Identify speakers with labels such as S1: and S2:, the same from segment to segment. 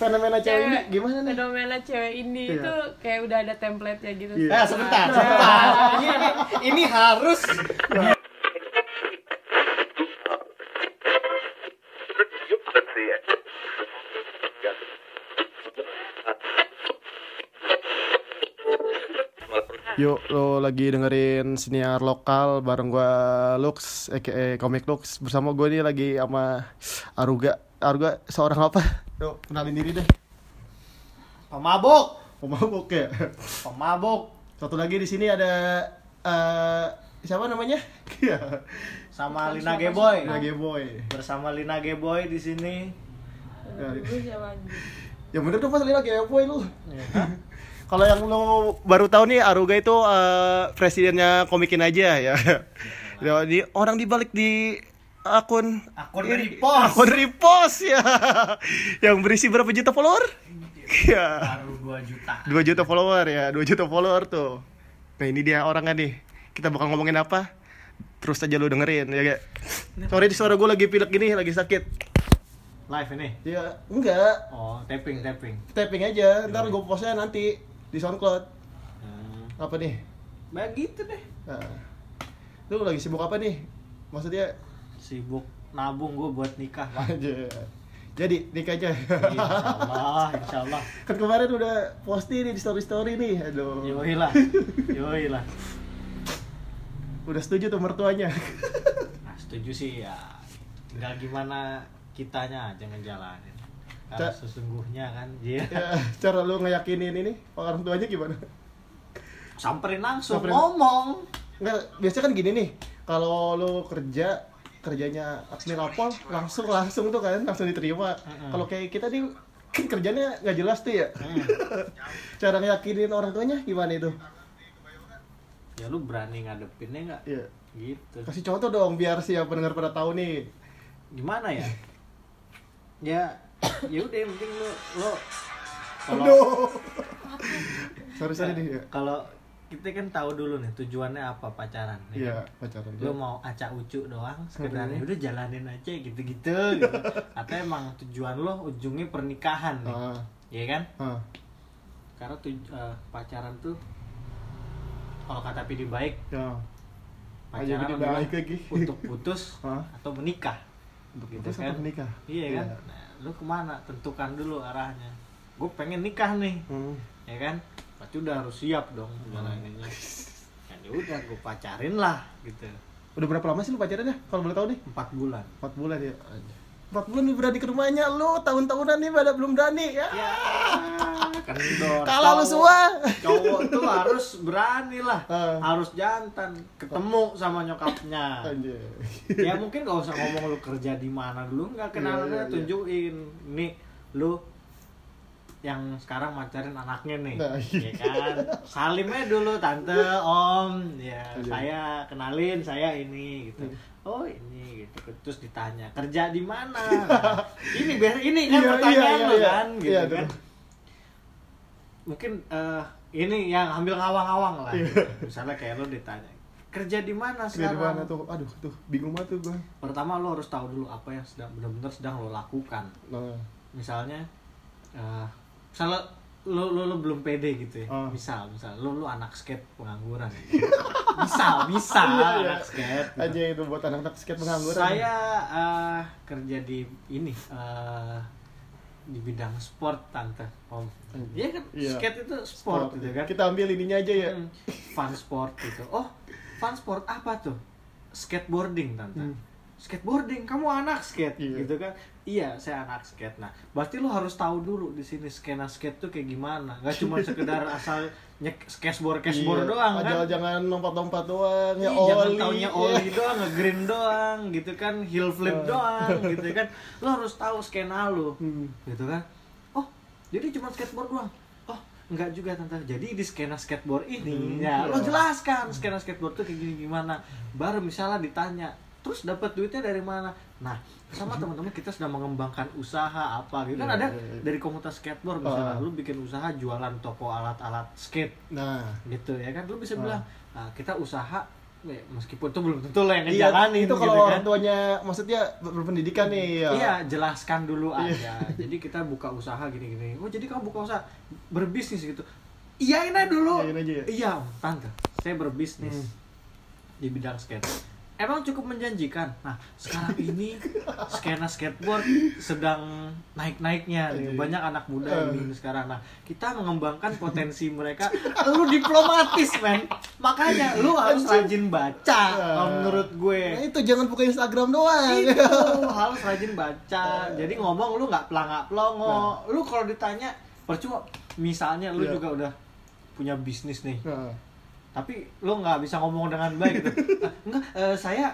S1: fenomena cewek ini gimana nih?
S2: fenomena cewek ini
S1: Iya.
S2: itu kayak udah ada template nya gitu
S1: Iya.
S3: Eh, sebentar, sebentar. Ini, ini harus
S1: Yuk lo lagi dengerin siniar lokal bareng gua Lux aka Comic Lux bersama gua nih lagi sama Aruga. Aruga seorang apa? Yuk kenalin diri deh.
S3: pemabuk,
S1: Pemabuk ya.
S3: pemabuk
S1: Satu lagi di sini ada eh siapa namanya? Iya.
S3: sama Lina Geboy.
S1: Lagi boy.
S3: Bersama Lina Geboy di sini.
S2: Gue siapa anjing?
S1: Yang bener dong pas lagi ya boy lu. Kalau yang lo baru tahu nih Aruga itu eh, presidennya komikin aja ya. Ya, di- orang dibalik di akun
S3: Akun repost.
S1: akun repost ya. Yang berisi berapa juta follower? Ya.
S3: Baru 2 juta.
S1: 2 juta follower ya, 2 juta follower tuh. Nah, ini dia orangnya nih. Kita bakal ngomongin apa? Terus aja lu dengerin ya, kayak. Sorry suara gue lagi pilek gini, lagi sakit.
S3: Live ini.
S1: Ya, enggak.
S3: Oh, tapping, tapping.
S1: Tapping aja, ntar gue postnya nanti di SoundCloud. Apa nih?
S3: Begitu Hmm. gitu deh.
S1: Nah, lu lagi sibuk apa nih? Maksudnya
S3: Sibuk nabung gue buat nikah. Pak.
S1: aja. Jadi nikah aja.
S3: Insyaallah, insyaallah.
S1: kan kemarin udah posting nih di story story nih. Aduh.
S3: Yoi lah. Yoi lah.
S1: Udah setuju tuh mertuanya.
S3: Nah, setuju sih ya. Tinggal gimana kitanya aja ngejalanin. Karena
S1: Cak.
S3: sesungguhnya kan, dia
S1: ya, cara lu ngeyakinin ini orang tuanya gimana?
S3: samperin langsung
S1: Samperin.
S3: ngomong.
S1: Nggak, biasanya kan gini nih. Kalau lu kerja kerjanya admin apa langsung langsung tuh kan langsung diterima. Kalau kayak kita nih kan kerjanya nggak jelas tuh ya.
S3: Mm.
S1: cara ngeyakinin orang tuanya gimana itu?
S3: Ya lu berani ngadepinnya nggak?
S1: Iya.
S3: Gitu.
S1: Kasih contoh dong biar si yang pendengar pada tahu nih.
S3: Gimana ya? ya, ya udah yang penting lu lu kalau eh,
S1: Aduh. sorry sorry nih. ya.
S3: kalau kita kan tahu dulu nih tujuannya apa pacaran. ya
S1: Iya,
S3: kan?
S1: pacaran.
S3: lu mau acak ucu doang sekedarnya
S1: Hmm.
S3: udah jalanin aja gitu-gitu gitu. atau emang tujuan lo ujungnya pernikahan nih
S1: Ah,
S3: ya kan
S1: ah.
S3: karena tuj- eh, pacaran tuh kalau kata pilih baik
S1: Ya. Ayo
S3: pacaran
S1: pilih
S3: adalah
S1: baik lagi.
S3: untuk putus
S1: Hah?
S3: atau menikah
S1: Untuk
S3: Gitu
S1: putus
S3: kan?
S1: atau menikah.
S3: iya kan nah, lu kemana tentukan dulu arahnya gue pengen nikah nih
S1: Hmm.
S3: ya kan pasti udah harus siap dong jalaninnya dan ya udah gue pacarin lah gitu
S1: Udah berapa lama sih lu pacaran ya? Kalau boleh tahu nih.
S3: empat bulan
S1: 4 bulan ya. 4 bulan lu berani ke rumahnya lu, tahun-tahunan nih pada belum berani ya.
S3: Ya,
S1: Ah,
S3: kendor.
S1: Kalah lu
S3: Cowok-
S1: semua.
S3: Cowok tuh harus berani lah,
S1: Heeh.
S3: harus jantan, ketemu sama nyokapnya.
S1: Anjir.
S3: ya mungkin gak usah ngomong lu kerja di mana dulu, nggak kenalannya
S1: Iya, iya, iya.
S3: tunjukin nih lu yang sekarang pacarin anaknya nih,
S1: Nah,
S3: ya kan? Salim aja dulu tante, om, ya
S1: Iya.
S3: saya kenalin saya ini gitu. Oh ini gitu, terus ditanya kerja di mana? Nah, ini biar ini kan
S1: Iya, iya,
S3: pertanyaan
S1: iya,
S3: lu
S1: iya.
S3: kan, gitu
S1: Iya,
S3: kan?
S1: betul.
S3: mungkin eh, ini yang ambil ngawang-ngawang lah gitu. misalnya kayak lo ditanya kerja di mana
S1: Iya. Kerja
S3: sekarang
S1: di mana tuh? Aduh, tuh bingung banget tuh gua.
S3: pertama lo harus tahu dulu apa yang sedang benar-benar sedang lo lakukan
S1: Nah.
S3: misalnya eh misalnya lo, lo, lo belum pede gitu ya
S1: Ah.
S3: misal misal lo lo anak skate pengangguran ya. bisa bisa
S1: Iya, iya.
S3: anak skate gitu.
S1: Aja itu buat anak-anak skate pengangguran.
S3: saya eh, kerja di ini eh, di bidang sport tante om iya kan
S1: Iya.
S3: skate itu sport,
S1: Sport, iya.
S3: gitu kan
S1: Kita ambil ininya aja ya.
S3: Hmm, fun sport gitu. Oh, fun sport apa tuh? Skateboarding tante.
S1: Hmm.
S3: Skateboarding, kamu anak skate
S1: Iya.
S3: gitu kan? Iya, saya anak skate. Nah, berarti lu harus tahu dulu di sini skena skate tuh kayak gimana. Gak cuma sekedar asal nyek skateboard skateboard
S1: Iya.
S3: doang kan?
S1: Padahal jangan lompat-lompat doang ya
S3: Ih,
S1: oli.
S3: Iya, jangan taunya oli
S1: Iya.
S3: doang, nge-green doang, gitu kan, heel flip doang, gitu kan. Lo harus tahu skena lo,
S1: Hmm.
S3: gitu kan. Oh, jadi cuma skateboard doang. Oh, enggak juga tante. Jadi di skena skateboard ini,
S1: Hmm,
S3: ya, lo
S1: iya.
S3: jelaskan skena skateboard tuh kayak gini gimana. Baru misalnya ditanya, terus dapat duitnya dari mana? Nah, sama teman-teman kita sedang mengembangkan usaha apa gitu kan
S1: Iya,
S3: ada
S1: iya, iya.
S3: dari komunitas skateboard misalnya
S1: Ah.
S3: lu bikin usaha jualan toko alat-alat skate
S1: Nah,
S3: gitu ya kan lu bisa
S1: Ah.
S3: bilang "Ah, kita usaha Ya, meskipun itu belum tentu lo yang
S1: Iya,
S3: ngejalanin
S1: itu
S3: gitu
S1: kalau
S3: kan.
S1: orang tuanya maksudnya ber- berpendidikan nih ya.
S3: Iya, jelaskan dulu aja. Jadi kita buka usaha gini-gini. Oh, jadi kamu buka usaha berbisnis gitu. Iyain aja dulu.
S1: Iyain aja ya?
S3: Iya, tante. Saya berbisnis
S1: Hmm.
S3: di bidang skate. Emang cukup menjanjikan. Nah, sekarang ini skena skateboard sedang naik-naiknya. nih.
S1: Iya.
S3: Banyak anak muda
S1: Eh.
S3: ini sekarang. Nah, kita mengembangkan potensi mereka. Lu diplomatis, men. Makanya lu harus rajin baca. Kalau menurut gue
S1: Nah, itu jangan buka Instagram doang.
S3: itu harus rajin baca
S1: Nah.
S3: jadi ngomong lu nggak pelangak pelongo lu kalau ditanya percuma misalnya lu
S1: Iya.
S3: juga udah punya bisnis nih
S1: Nah,
S3: tapi lu nggak bisa ngomong dengan baik gitu "Ah, enggak eh, saya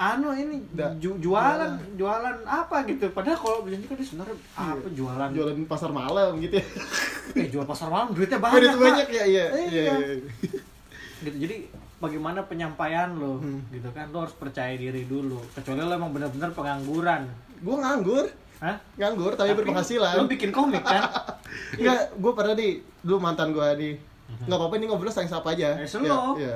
S3: anu ini
S1: Da-
S3: ju- jualan jualan apa gitu padahal kalau bisnis kan dia sebenarnya apa
S1: Iya.
S3: jualan jual,
S1: jualan pasar malam gitu ya.
S3: eh, jual pasar malam duitnya banyak,
S1: Banyak,
S3: Pak.
S1: banyak ya, iya.
S3: Iya.
S1: Iya, iya.
S3: gitu jadi bagaimana penyampaian lo
S1: Hmm.
S3: gitu kan lo harus percaya diri dulu kecuali lo emang bener-bener pengangguran
S1: Gua nganggur,
S3: Hah?
S1: nganggur tapi, berpenghasilan.
S3: Lo bikin komik kan?
S1: Enggak, gue pernah di dulu mantan gue di nggak apa-apa ini ngobrol sayang siapa aja.
S3: Eh, slow.
S1: Iya.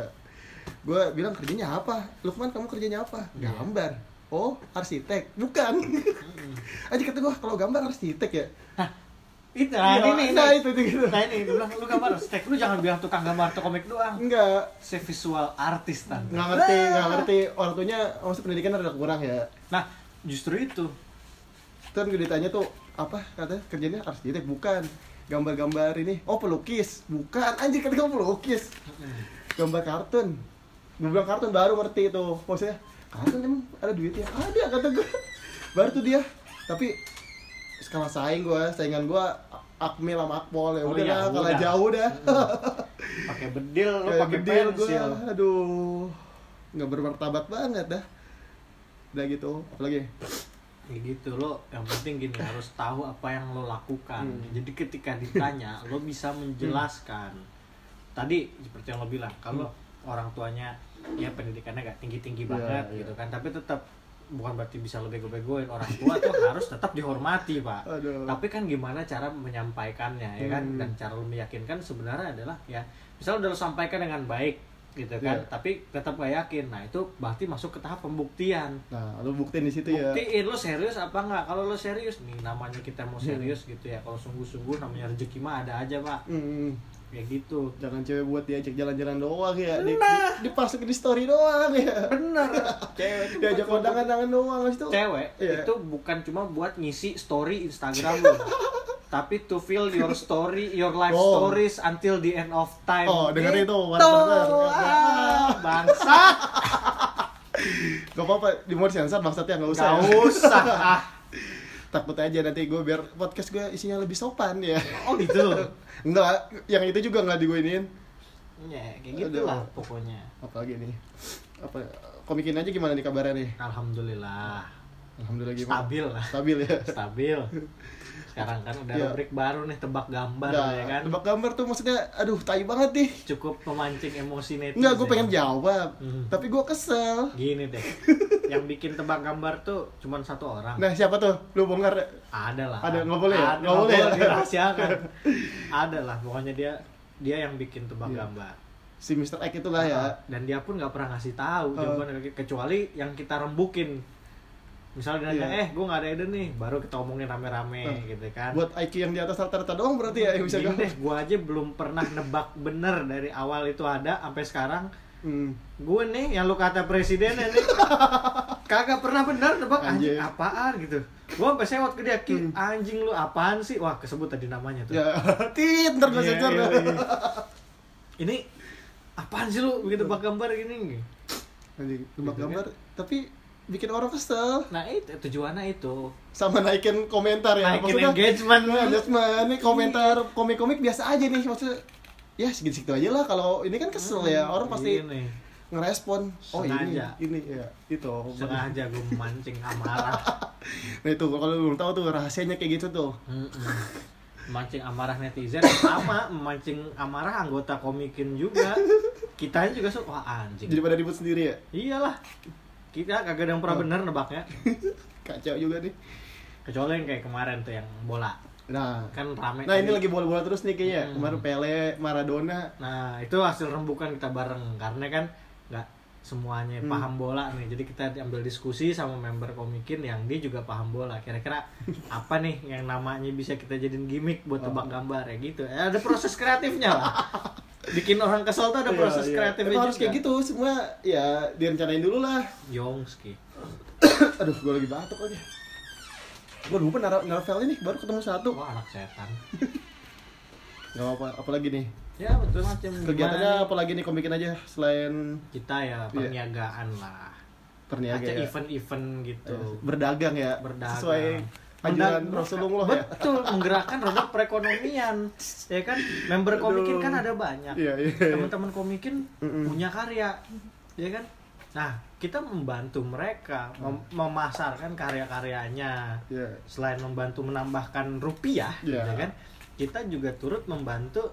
S1: Gue bilang kerjanya apa? Lukman kamu kerjanya apa? Gambar. Oh, arsitek. Bukan. Aja kata gue kalau gambar arsitek ya.
S3: itu nah,
S1: Iya,
S3: ini, ini.
S1: nah, itu, itu, gitu.
S3: Nah, ini lu bilang lu gambar stek lu jangan bilang tukang gambar atau komik doang.
S1: Enggak,
S3: Saya visual artis tante.
S1: nggak ngerti,
S3: Ah.
S1: nggak ngerti. Orang tuanya maksud pendidikan ada kurang ya.
S3: Nah, justru itu.
S1: Terus gue ditanya tuh apa katanya kerjanya arsitek bukan gambar-gambar ini. Oh pelukis, bukan. Anjir kata kamu pelukis. Gambar kartun. Gue bilang kartun baru ngerti itu. Maksudnya kartun emang ada duitnya. Ada kata gue. Baru tuh dia. Tapi skala saing gue, saingan gue Akmil sama Akpol ya
S3: Oh,
S1: udah
S3: iya,
S1: lah, kalah
S3: udah.
S1: jauh dah.
S3: Pakai bedil, lu
S1: Kayak
S3: pakai
S1: bedil
S3: pensil.
S1: gua. Aduh. Nggak bermartabat banget dah. Udah gitu, apalagi
S3: Ya gitu lo yang penting gini harus tahu apa yang lo lakukan
S1: Hmm.
S3: jadi ketika ditanya lo bisa menjelaskan tadi seperti yang lo bilang kalau orang tuanya ya pendidikannya gak tinggi tinggi
S1: Hmm. Iya,
S3: banget
S1: iya.
S3: gitu kan tapi tetap bukan berarti bisa lo bego-begoin orang tua tuh harus tetap dihormati pak
S1: Aduh.
S3: tapi kan gimana cara menyampaikannya ya kan
S1: Hmm.
S3: dan cara lo meyakinkan sebenarnya adalah ya misal udah lo sampaikan dengan baik gitu kan
S1: Iya.
S3: tapi tetap gak yakin nah itu berarti masuk ke tahap pembuktian
S1: Nah, lu buktiin di situ ya.
S3: buktiin lu serius apa nggak kalau lu serius nih namanya kita mau serius gitu ya kalau sungguh-sungguh namanya rezeki mah ada aja pak
S1: Hmm,
S3: kayak gitu
S1: jangan cewek buat diajak jalan-jalan doang ya.
S3: Nah.
S1: Di, di, dipasukin di story doang ya.
S3: bener cewek itu
S1: Diajak
S3: bukan cuma-
S1: kondangan-kondangan doang habis itu.
S3: cewek
S1: Iya.
S3: itu bukan cuma buat ngisi story Instagram lu tapi to fill your story your life
S1: Oh.
S3: stories until the end of time
S1: Oh, dengerin itu,
S3: Gitu.
S1: warna-warna.
S3: Ah, bangsa
S1: Gak apa-apa, di mau sensor bangsatnya nggak usah.
S3: nggak
S1: ya.
S3: usah ah
S1: Takut aja nanti gue biar podcast gue isinya lebih sopan ya.
S3: oh gitu
S1: Enggak, yang itu juga nggak diguinin.
S3: ya kayak gitulah pokoknya
S1: Apalagi nih. Apa komikin aja gimana nih kabarnya nih?
S3: alhamdulillah
S1: Alhamdulillah gimana?
S3: stabil lah
S1: Stabil ya.
S3: stabil sekarang kan udah
S1: Iya.
S3: rubrik baru nih tebak gambar
S1: Nah,
S3: ya kan
S1: tebak gambar tuh maksudnya aduh tai banget nih.
S3: cukup memancing emosi netizen
S1: Enggak, gue pengen jawab,
S3: Hmm.
S1: tapi gue kesel.
S3: gini deh yang bikin tebak gambar tuh cuman satu orang
S1: Nah, siapa tuh? Lu bongkar.
S3: ada lah
S1: Ada, nggak boleh ya?
S3: ada,
S1: Nggak
S3: nggak
S1: boleh
S3: boleh
S1: ya?
S3: dirahasiakan ada lah pokoknya dia dia yang bikin tebak
S1: Iya.
S3: gambar
S1: Si Mr. X itulah ya.
S3: dan dia pun nggak pernah ngasih tahu
S1: Eh.
S3: jawaban kecuali yang kita rembukin misalnya dia nanya,
S1: Iya.
S3: eh gue nggak ada ide nih baru kita omongin rame-rame
S1: Eh.
S3: gitu kan
S1: Buat IQ yang di atas rata-rata doang berarti ya yang bisa
S3: Gini
S1: gambar.
S3: deh, gua aja belum pernah nebak bener dari awal itu ada sampai sekarang.
S1: Hmm.
S3: Gue nih yang lu kata presiden nih kagak pernah bener nebak anjing
S1: Anjing. Hmm.
S3: apaan gitu. Gua sampai sewot ke dia, "Ki, anjing lu apaan sih? Wah, kesebut tadi namanya tuh.
S1: Ya, tit, ntar gue
S3: Iya,
S1: sensor. ya.
S3: iya, iya. Ini apaan sih lu bikin tebak gambar gini?
S1: Anjing,
S3: Gitu
S1: tebak
S3: kan?
S1: gambar, tapi bikin orang kesel
S3: Nah, itu tujuannya itu.
S1: sama naikin komentar ya.
S3: Naikin engagement.
S1: Nah, engagement. Ini komentar komik-komik biasa aja nih maksudnya. Ya segitu-segitu aja lah kalau ini kan kesel ya. Orang pasti
S3: Ini,
S1: ngerespon. Oh, ini
S3: Hmm, iya Sengaja.
S1: ini ya. Itu.
S3: sengaja gue memancing amarah.
S1: Nah itu kalau lu belum tahu tuh rahasianya kayak gitu tuh.
S3: Mm-mm. Memancing amarah netizen sama memancing amarah anggota komikin juga. Kita juga so, wah anjing.
S1: Jadi Oh. pada ribut sendiri ya.
S3: Iyalah. Kita kagak ada yang pernah bener nebaknya.
S1: Kacau juga nih.
S3: Kecuali yang kayak kemarin tuh yang bola.
S1: Nah,
S3: Kan rame.
S1: nah ini
S3: tadi.
S1: lagi bola-bola terus nih kayaknya.
S3: Hmm.
S1: Kemarin Pele, Maradona.
S3: Nah, itu hasil rembukan kita bareng karena kan nggak semuanya
S1: Hmm.
S3: paham bola nih jadi kita ambil diskusi sama member komikin yang dia juga paham bola kira-kira apa nih yang namanya bisa kita jadiin gimmick buat
S1: Oh.
S3: tebak gambar ya gitu Eh, ada proses kreatifnya lah bikin orang kesel tuh ada
S1: Iya,
S3: proses
S1: iya.
S3: kreatifnya
S1: Emang harus
S3: juga.
S1: kayak gitu semua ya direncanain dulu lah
S3: Yongski
S1: aduh gue lagi batuk aja gue lupa naro novel ini baru ketemu satu
S3: wah anak setan
S1: nggak apa apalagi nih
S3: ya betul macam
S1: kegiatannya Iya. apalagi nih komikin aja selain
S3: kita ya perniagaan lah
S1: perniaga
S3: aja
S1: ya Iya.
S3: event-event gitu
S1: berdagang ya
S3: berdagang
S1: sesuai
S3: Mendag-
S1: anjuran Rasulullah ya
S3: betul menggerakkan roda perekonomian ya kan member komikin kan ada banyak
S1: Iya, iya, iya.
S3: teman-teman komikin
S1: Mm-mm.
S3: punya karya ya kan nah kita membantu mereka
S1: Mm.
S3: mem- memasarkan karya-karyanya
S1: Iya.
S3: selain membantu menambahkan rupiah
S1: Iya.
S3: ya kan kita juga turut membantu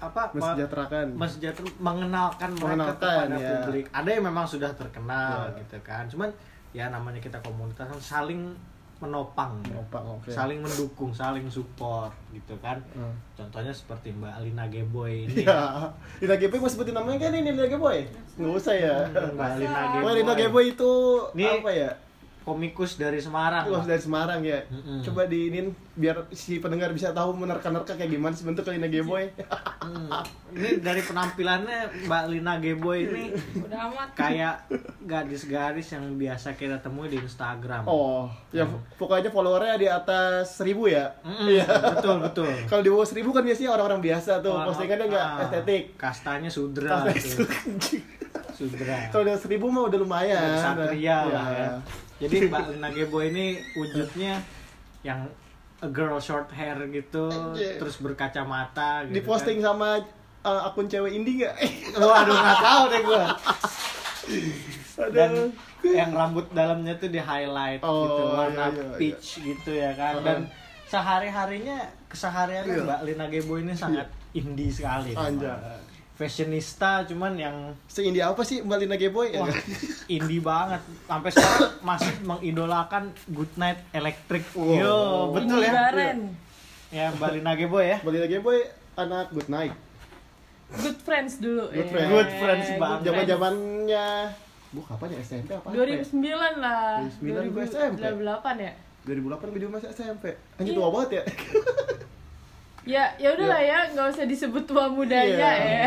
S3: apa
S1: Mensejahterakan.
S3: mensejahtera- mengenalkan mereka
S1: Mengenalkan,
S3: kepada
S1: ya.
S3: publik ada yang memang sudah terkenal
S1: Ya.
S3: gitu kan cuman ya namanya kita komunitas kan saling menopang,
S1: Menopang, oke.
S3: saling mendukung saling support gitu kan
S1: Hmm.
S3: contohnya seperti mbak Alina Geboy ini
S1: Ya, Lina Geboy mau sebutin namanya kan ini Lina Geboy? Nggak usah ya.
S3: mbak Alina Geboy,
S1: Wah Lina Geboy itu
S3: Ini-
S1: apa ya?
S3: komikus dari Semarang
S1: Kalau dari Semarang ya.
S3: Ah. Mm-mm.
S1: Coba diinin biar si pendengar bisa tahu menerka-nerka kayak gimana sih bentuk Lina Geboy.
S3: Hmm. ini dari penampilannya mbak Alina Geboy ini
S2: Udah amat.
S3: kayak gadis-gadis yang biasa kita temui di Instagram
S1: Oh, ya pokoknya followernya di atas 1000 ya.
S3: Mm-mm, Hmm, betul betul
S1: Kalau di bawah 1000 kan biasanya orang-orang biasa tuh,
S3: Orang-
S1: postingannya nggak
S3: ah,
S1: estetik.
S3: Kastanya sudra.
S1: Kastanya
S3: tuh. sudra.
S1: Kalau di atas 1000 mah udah lumayan.
S3: Dari Satria lah
S1: Ya.
S3: ya. Jadi Mbak Lina Gebo ini wujudnya yang a girl short hair gitu,
S1: Anjir.
S3: terus berkacamata gitu.
S1: Di posting sama uh, akun cewek indie nggak?
S3: Kan. Waduh, nggak tahu deh gua. Dan
S1: Aduh.
S3: yang rambut dalamnya tuh di highlight
S1: Oh,
S3: gitu, warna
S1: iya, iya, iya.
S3: peach gitu ya kan. Dan sehari-harinya kesehariannya
S1: Iya.
S3: Mbak Lina Gebo ini sangat indie sekali.
S1: Anjay.
S3: Fashionista cuman yang
S1: Se-indie apa sih Mbak Lina Geboy? Ya.
S3: Wah, indie banget. Sampai sekarang masih mengidolakan Good Night Electric.
S1: Wow.
S3: Yo, betul ya.
S2: Lebaran.
S3: Ya, Bali Nagebo ya.
S1: Mbak Lina Geboy anak good night.
S2: Good friends dulu.
S1: Good
S2: ya.
S1: friends.
S3: Good friends banget.
S2: friends.
S1: zaman zamannya bu kapan ya SMP apa?
S2: 2009 lah.
S1: 2009 gua SMP.
S2: 2008 ya.
S1: 2008 video masih SMP.
S2: Iya.
S1: Anjir tua banget ya.
S2: Ya, ya udahlah ya, nggak usah disebut tua mudanya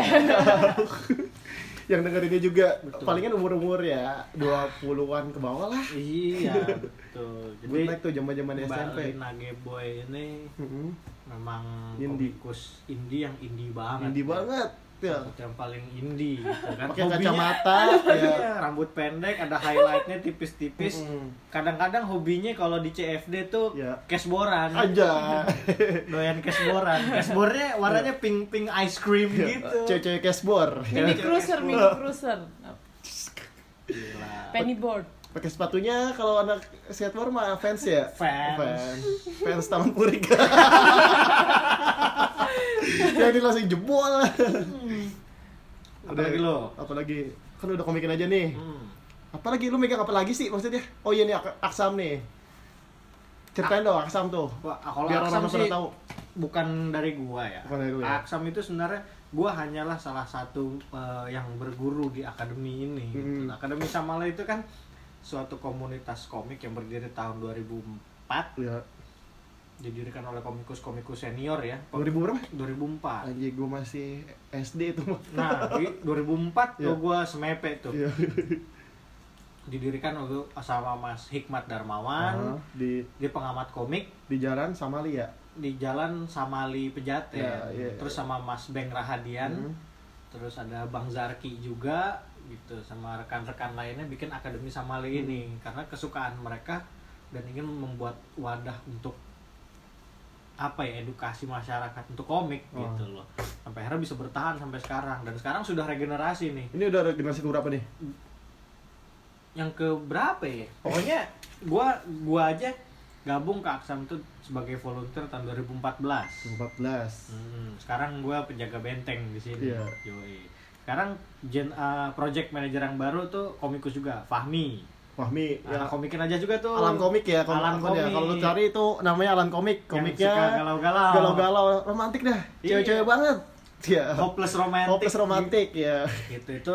S2: ya.
S1: Iya. Yang dengerinnya juga palingan umur-umur ya 20-an ke bawah lah.
S3: Iya, betul. Jadi
S1: Good night tuh zaman-zaman SMP.
S3: Bali Nagebo ini
S1: Heeh.
S3: memang
S1: Indie.
S3: komikus indie yang indie banget.
S1: Indie banget. Ya.
S3: Yang paling indie gitu kan.
S1: Pakai
S3: Hobinya-
S1: kacamata
S3: Iya,
S1: ya. Mm.
S3: rambut pendek, ada highlightnya tipis-tipis.
S1: Mm-mm.
S3: Kadang-kadang hobinya kalau di CFD tuh
S1: Iya.
S3: cashboran.
S1: Aja.
S3: doyan cashboran cashboardnya warnanya pink pink ice cream gitu
S1: Iya. Cewek-cewek cashboard.
S2: mini cruiser, mini cruiser.
S3: Gila.
S2: Penny board.
S1: Pakai sepatunya kalau anak skateboard mah fans ya.
S3: Fans.
S1: Fans, Fans Taman Puring. Jadi langsung jebol.
S3: apalagi Hmm. lo
S1: Apalagi kan udah komikin aja nih.
S3: Hmm.
S1: Apalagi lu megang apa lagi sih maksudnya? Oh iya nih Ak- Aksam nih. Ceritain dong Aksam tuh.
S3: Wah, kalau
S1: Biar
S3: Aksam
S1: orang pada
S3: sih-
S1: tahu.
S3: bukan dari gua ya
S1: Bukan dari lu ya.
S3: aksam itu sebenarnya gua hanyalah salah satu eh, yang berguru di akademi ini gitu.
S1: Hmm.
S3: akademi Samala itu kan suatu komunitas komik yang berdiri tahun 2004
S1: Ya,
S3: didirikan oleh komikus-komikus senior ya
S1: 2000 berapa?
S3: 2004
S1: Anjir gue masih SD itu mah.
S3: nah di 2004 tuh
S1: Iya.
S3: gua semepe tuh
S1: Iya.
S3: didirikan oleh sama Mas Hikmat Darmawan
S1: Ah, di
S3: di pengamat komik
S1: di jalan sama Lia.
S3: di Jalan Samali Pejaten
S1: Ya, iya, Hmm.
S3: terus sama Mas Beng Rahadian terus ada Bang Zarki juga gitu sama rekan-rekan lainnya bikin Akademi
S1: Hmm.
S3: Samali ini karena kesukaan mereka dan ingin membuat wadah untuk apa ya edukasi masyarakat untuk komik
S1: Oh.
S3: gitu loh sampai akhirnya bisa bertahan sampai sekarang dan sekarang sudah regenerasi nih
S1: Ini udah generasi ke berapa nih?
S3: yang ke berapa ya? Pokoknya gua gua aja gabung ke Aksam itu sebagai volunteer tahun 2014.
S1: 14.
S3: Hmm, sekarang gua penjaga benteng di sini.
S1: Iya.
S3: Yoi. Sekarang gen, eh, project manager yang baru tuh komikus juga, Fahmi.
S1: Fahmi,
S3: Ya,
S1: ya
S3: komikin aja juga tuh.
S1: Alan komik ya, kom-
S3: Alan Komik.
S1: akunnya. Kalau lu cari ya. itu namanya Alan komik, komiknya
S3: suka galau-galau.
S1: galau-galau, romantik dah,
S3: Iya.
S1: cewek-cewek banget. Ya,
S3: Hopeless romantic.
S1: iya. hopeless romantik ya.
S3: Gitu itu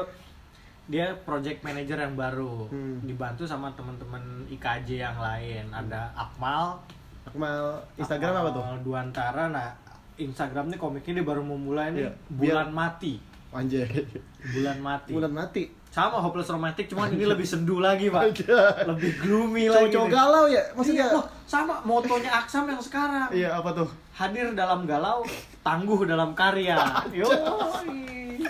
S3: dia project manager yang baru
S1: Hmm.
S3: dibantu sama teman-teman IKJ yang lain ada Akmal
S1: Akmal Instagram apa tuh?
S3: Akmal Duantara nah Instagram nih komiknya dia baru memulai nih
S1: Iya.
S3: bulan mati
S1: Anjay.
S3: bulan mati
S1: Bulan mati.
S3: sama hopeless romantic cuman ini lebih sendu lagi pak
S1: Anjay.
S3: lebih gloomy lagi
S1: Iya. Cowok-cowok
S3: nih.
S1: galau ya?
S3: Iya,
S1: Maksudnya?
S3: wah, sama motonya Aksam yang sekarang
S1: Iya, apa tuh?
S3: hadir dalam galau tangguh dalam karya Yoi.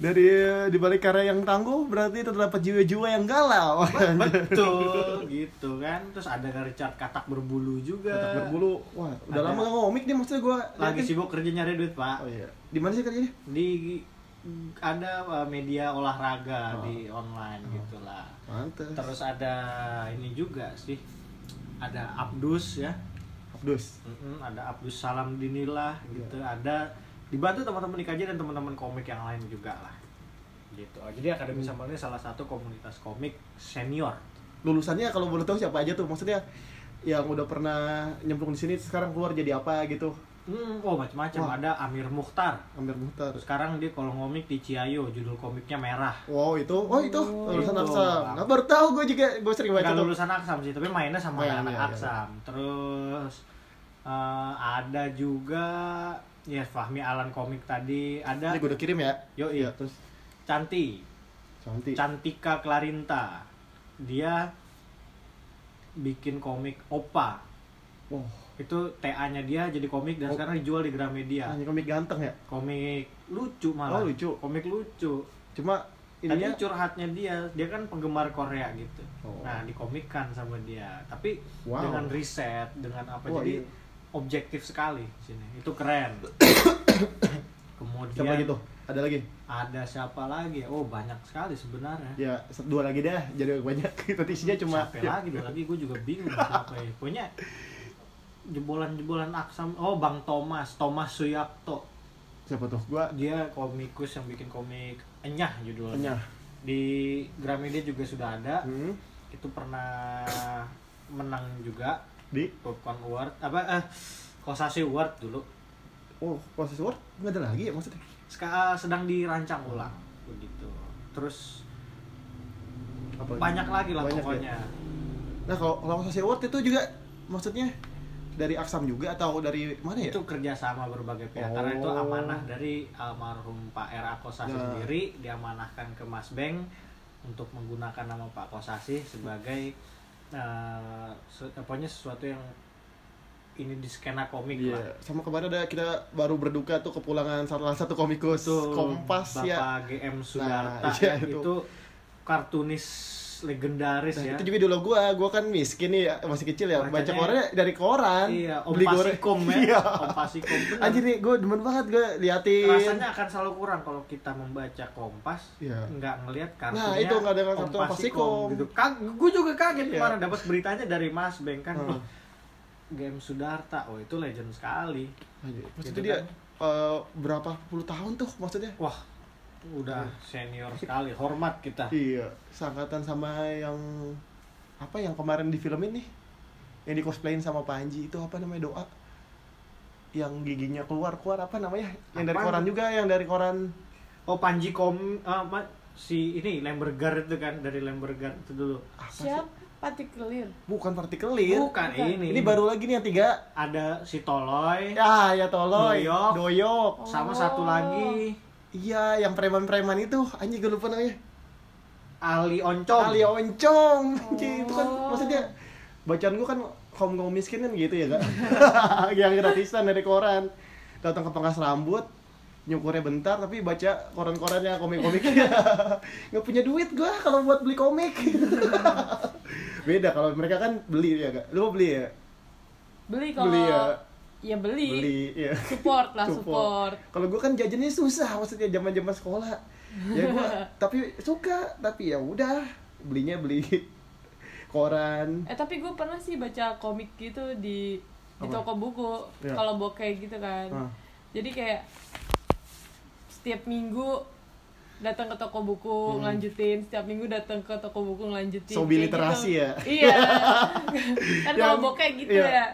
S1: Dari dibalik karya yang tangguh berarti terdapat jiwa-jiwa yang galau.
S3: betul gitu kan terus ada Richard katak berbulu juga
S1: Tetap berbulu. Wah, udah
S3: Ada.
S1: lama gak ngomik nih maksudnya gua.
S3: lagi
S1: liatin.
S3: sibuk kerja nyari duit pak
S1: Oh iya. Di mana sih kerjanya?
S3: di ada uh, media olahraga
S1: Oh.
S3: di online gitulah
S1: Mantep.
S3: terus ada ini juga sih ada Abdus ya
S1: Abdus.
S3: Mm-mm, ada Abdus Salam Dinilah
S1: Iya.
S3: gitu ada dibantu teman-teman IKJ dan teman-teman komik yang lain juga lah gitu jadi Akademi
S1: Hmm.
S3: Sambal ini salah satu komunitas komik senior
S1: Lulusannya kalau boleh tahu siapa aja tuh? Maksudnya yang udah pernah nyemplung di sini sekarang keluar jadi apa gitu?
S3: Hmm, oh
S1: Wah.
S3: macam-macam ada Amir Mukhtar.
S1: Amir Muhtar.
S3: Sekarang dia kalau ngomik di Ciayo, judul komiknya merah.
S1: Wow itu, oh itu lulusan
S3: itu.
S1: Aksam. Nggak baru tahu gue juga, gue sering baca
S3: Gak
S1: tuh.
S3: lulusan Aksam sih, tapi mainnya sama
S1: Oh, iya,
S3: anak
S1: iya, iya.
S3: Aksam. Terus eh, ada juga ya Fahmi Alan komik tadi, ada
S1: Ini gue udah kirim ya.
S3: yo
S1: Iya terus
S3: Canti,
S1: cantik.
S3: Cantika Clarinta. Dia bikin komik Opa.
S1: Wah,
S3: Itu TA-nya dia jadi komik dan
S1: Oh.
S3: sekarang dijual di Gramedia.
S1: hanya komik ganteng ya.
S3: Komik lucu malah.
S1: Oh, lucu.
S3: Komik lucu.
S1: Cuma
S3: Tadi
S1: ininya
S3: curhatnya dia, dia kan penggemar Korea gitu.
S1: Oh.
S3: Nah, dikomikkan sama dia. Tapi
S1: Wow.
S3: dengan riset, dengan apa
S1: Wah,
S3: jadi
S1: iya.
S3: objektif sekali di sini. Itu keren. Kemudian
S1: siapa lagi tuh? Ada lagi?
S3: ada siapa lagi? Oh, banyak sekali sebenarnya.
S1: Ya se- dua lagi dah, jadi banyak. Nanti isinya cuma. ya.
S3: siapa lagi? Dua lagi gue juga bingung siapa ya. Pokoknya jebolan-jebolan aksam. Oh, Bang Thomas, Thomas Suyapto.
S1: Siapa tuh? Gue
S3: Dia komikus yang bikin komik Enyah judulnya.
S1: Enyah.
S3: Di Gramedia juga sudah ada.
S1: Hmm.
S3: itu pernah menang juga
S1: Di
S3: Popcorn Award apa eh Kosasi Award dulu
S1: oh proses word nggak ada lagi ya maksudnya?
S3: Seka, sedang dirancang ulang begitu terus
S1: Apa lagi?
S3: banyak lagi lah
S1: Banyak ya.
S3: pokoknya
S1: Nah kalau kalau proses word itu juga maksudnya dari Aksam juga atau dari mana ya?
S3: itu kerjasama berbagai pihak
S1: Oh.
S3: karena itu amanah dari almarhum Pak R.A. Kosasi
S1: Nah.
S3: sendiri diamanahkan ke Mas Beng untuk menggunakan nama Pak Kosasi sebagai eh, se- apanya sesuatu yang ini di skena komik
S1: Iya,
S3: lah
S1: sama kemarin ada kita baru berduka tuh kepulangan salah satu komikus
S3: Betul.
S1: Kompas
S3: Bapak
S1: ya.
S3: GM Sudarta
S1: Nah, iya,
S3: ya, itu.
S1: itu.
S3: kartunis legendaris ya.
S1: Nah, itu juga dulu gua, gua kan miskin nih masih kecil ya, baca
S3: Bacanya-
S1: korannya dari koran.
S3: Iya, Om
S1: kan beli goreng.
S3: Pasikom ya.
S1: Iya.
S3: Om Pasikom bener.
S1: Anjir nih, gua demen banget gua liatin.
S3: Rasanya akan selalu kurang kalau kita membaca kompas,
S1: Iya.
S3: nggak ngelihat kartunya.
S1: Nah, itu nggak ada kartu Om Pasikom.
S3: Gitu. Kag- gue juga kaget
S1: Iya.
S3: kemarin dapat beritanya dari Mas Beng kan.
S1: Hmm.
S3: "Wah, GM Sudarta, oh itu legend sekali.
S1: Anjir, Maksudnya
S3: Gitu
S1: dia
S3: kan.
S1: eh, berapa puluh tahun tuh maksudnya?
S3: Wah, udah senior sekali, hormat kita.
S1: Iya, seangkatan sama yang apa yang kemarin di film ini yang di cosplayin sama Panji itu apa namanya doa yang giginya keluar keluar apa namanya yang dari
S3: Apaan
S1: koran
S3: tuh?
S1: juga yang dari koran
S3: Oh Panji Kom, eh, Ma- si ini Lemberger itu kan dari Lemberger itu dulu.
S1: apa sih?
S2: Siap partikelir.
S1: bukan partikelir
S3: Bukan ini.
S1: ini baru lagi nih yang tiga
S3: ada si Toloy
S1: ya ya toloy
S3: Doyok.
S1: doyok
S3: sama
S2: Oh.
S3: satu lagi
S1: Iya, yang preman-preman itu, anjing gue lupa namanya.
S3: Ali Oncom.
S1: Ali Oncong. Anjing, itu kan
S2: Oh.
S1: maksudnya bacaan gue kan kaum kaum miskin kan gitu ya kak yang gratisan dari koran datang ke pengas rambut nyukurnya bentar tapi baca koran-korannya komik-komiknya nggak punya duit gue kalau buat beli komik beda kalau mereka kan beli ya kak lu beli ya
S2: Beli kalau
S1: Beli ya.
S2: ya beli.
S1: beli ya
S2: Support lah support.
S1: Kalau gue kan jajannya susah, maksudnya zaman-zaman sekolah. Ya gue tapi suka, tapi ya udah belinya beli koran.
S2: Eh tapi gue pernah sih baca komik gitu di di
S1: Apa?
S2: toko buku
S1: Iya.
S2: kalau bokeh gitu kan.
S1: Ah.
S2: Jadi kayak setiap minggu datang ke toko buku ngelanjutin setiap minggu datang ke toko buku ngelanjutin
S1: Hmm. Sobi
S2: kayak
S1: literasi
S2: gitu.
S1: ya?
S2: iya kan kalau
S1: Yang-
S2: bokeh gitu
S1: iya.
S2: ya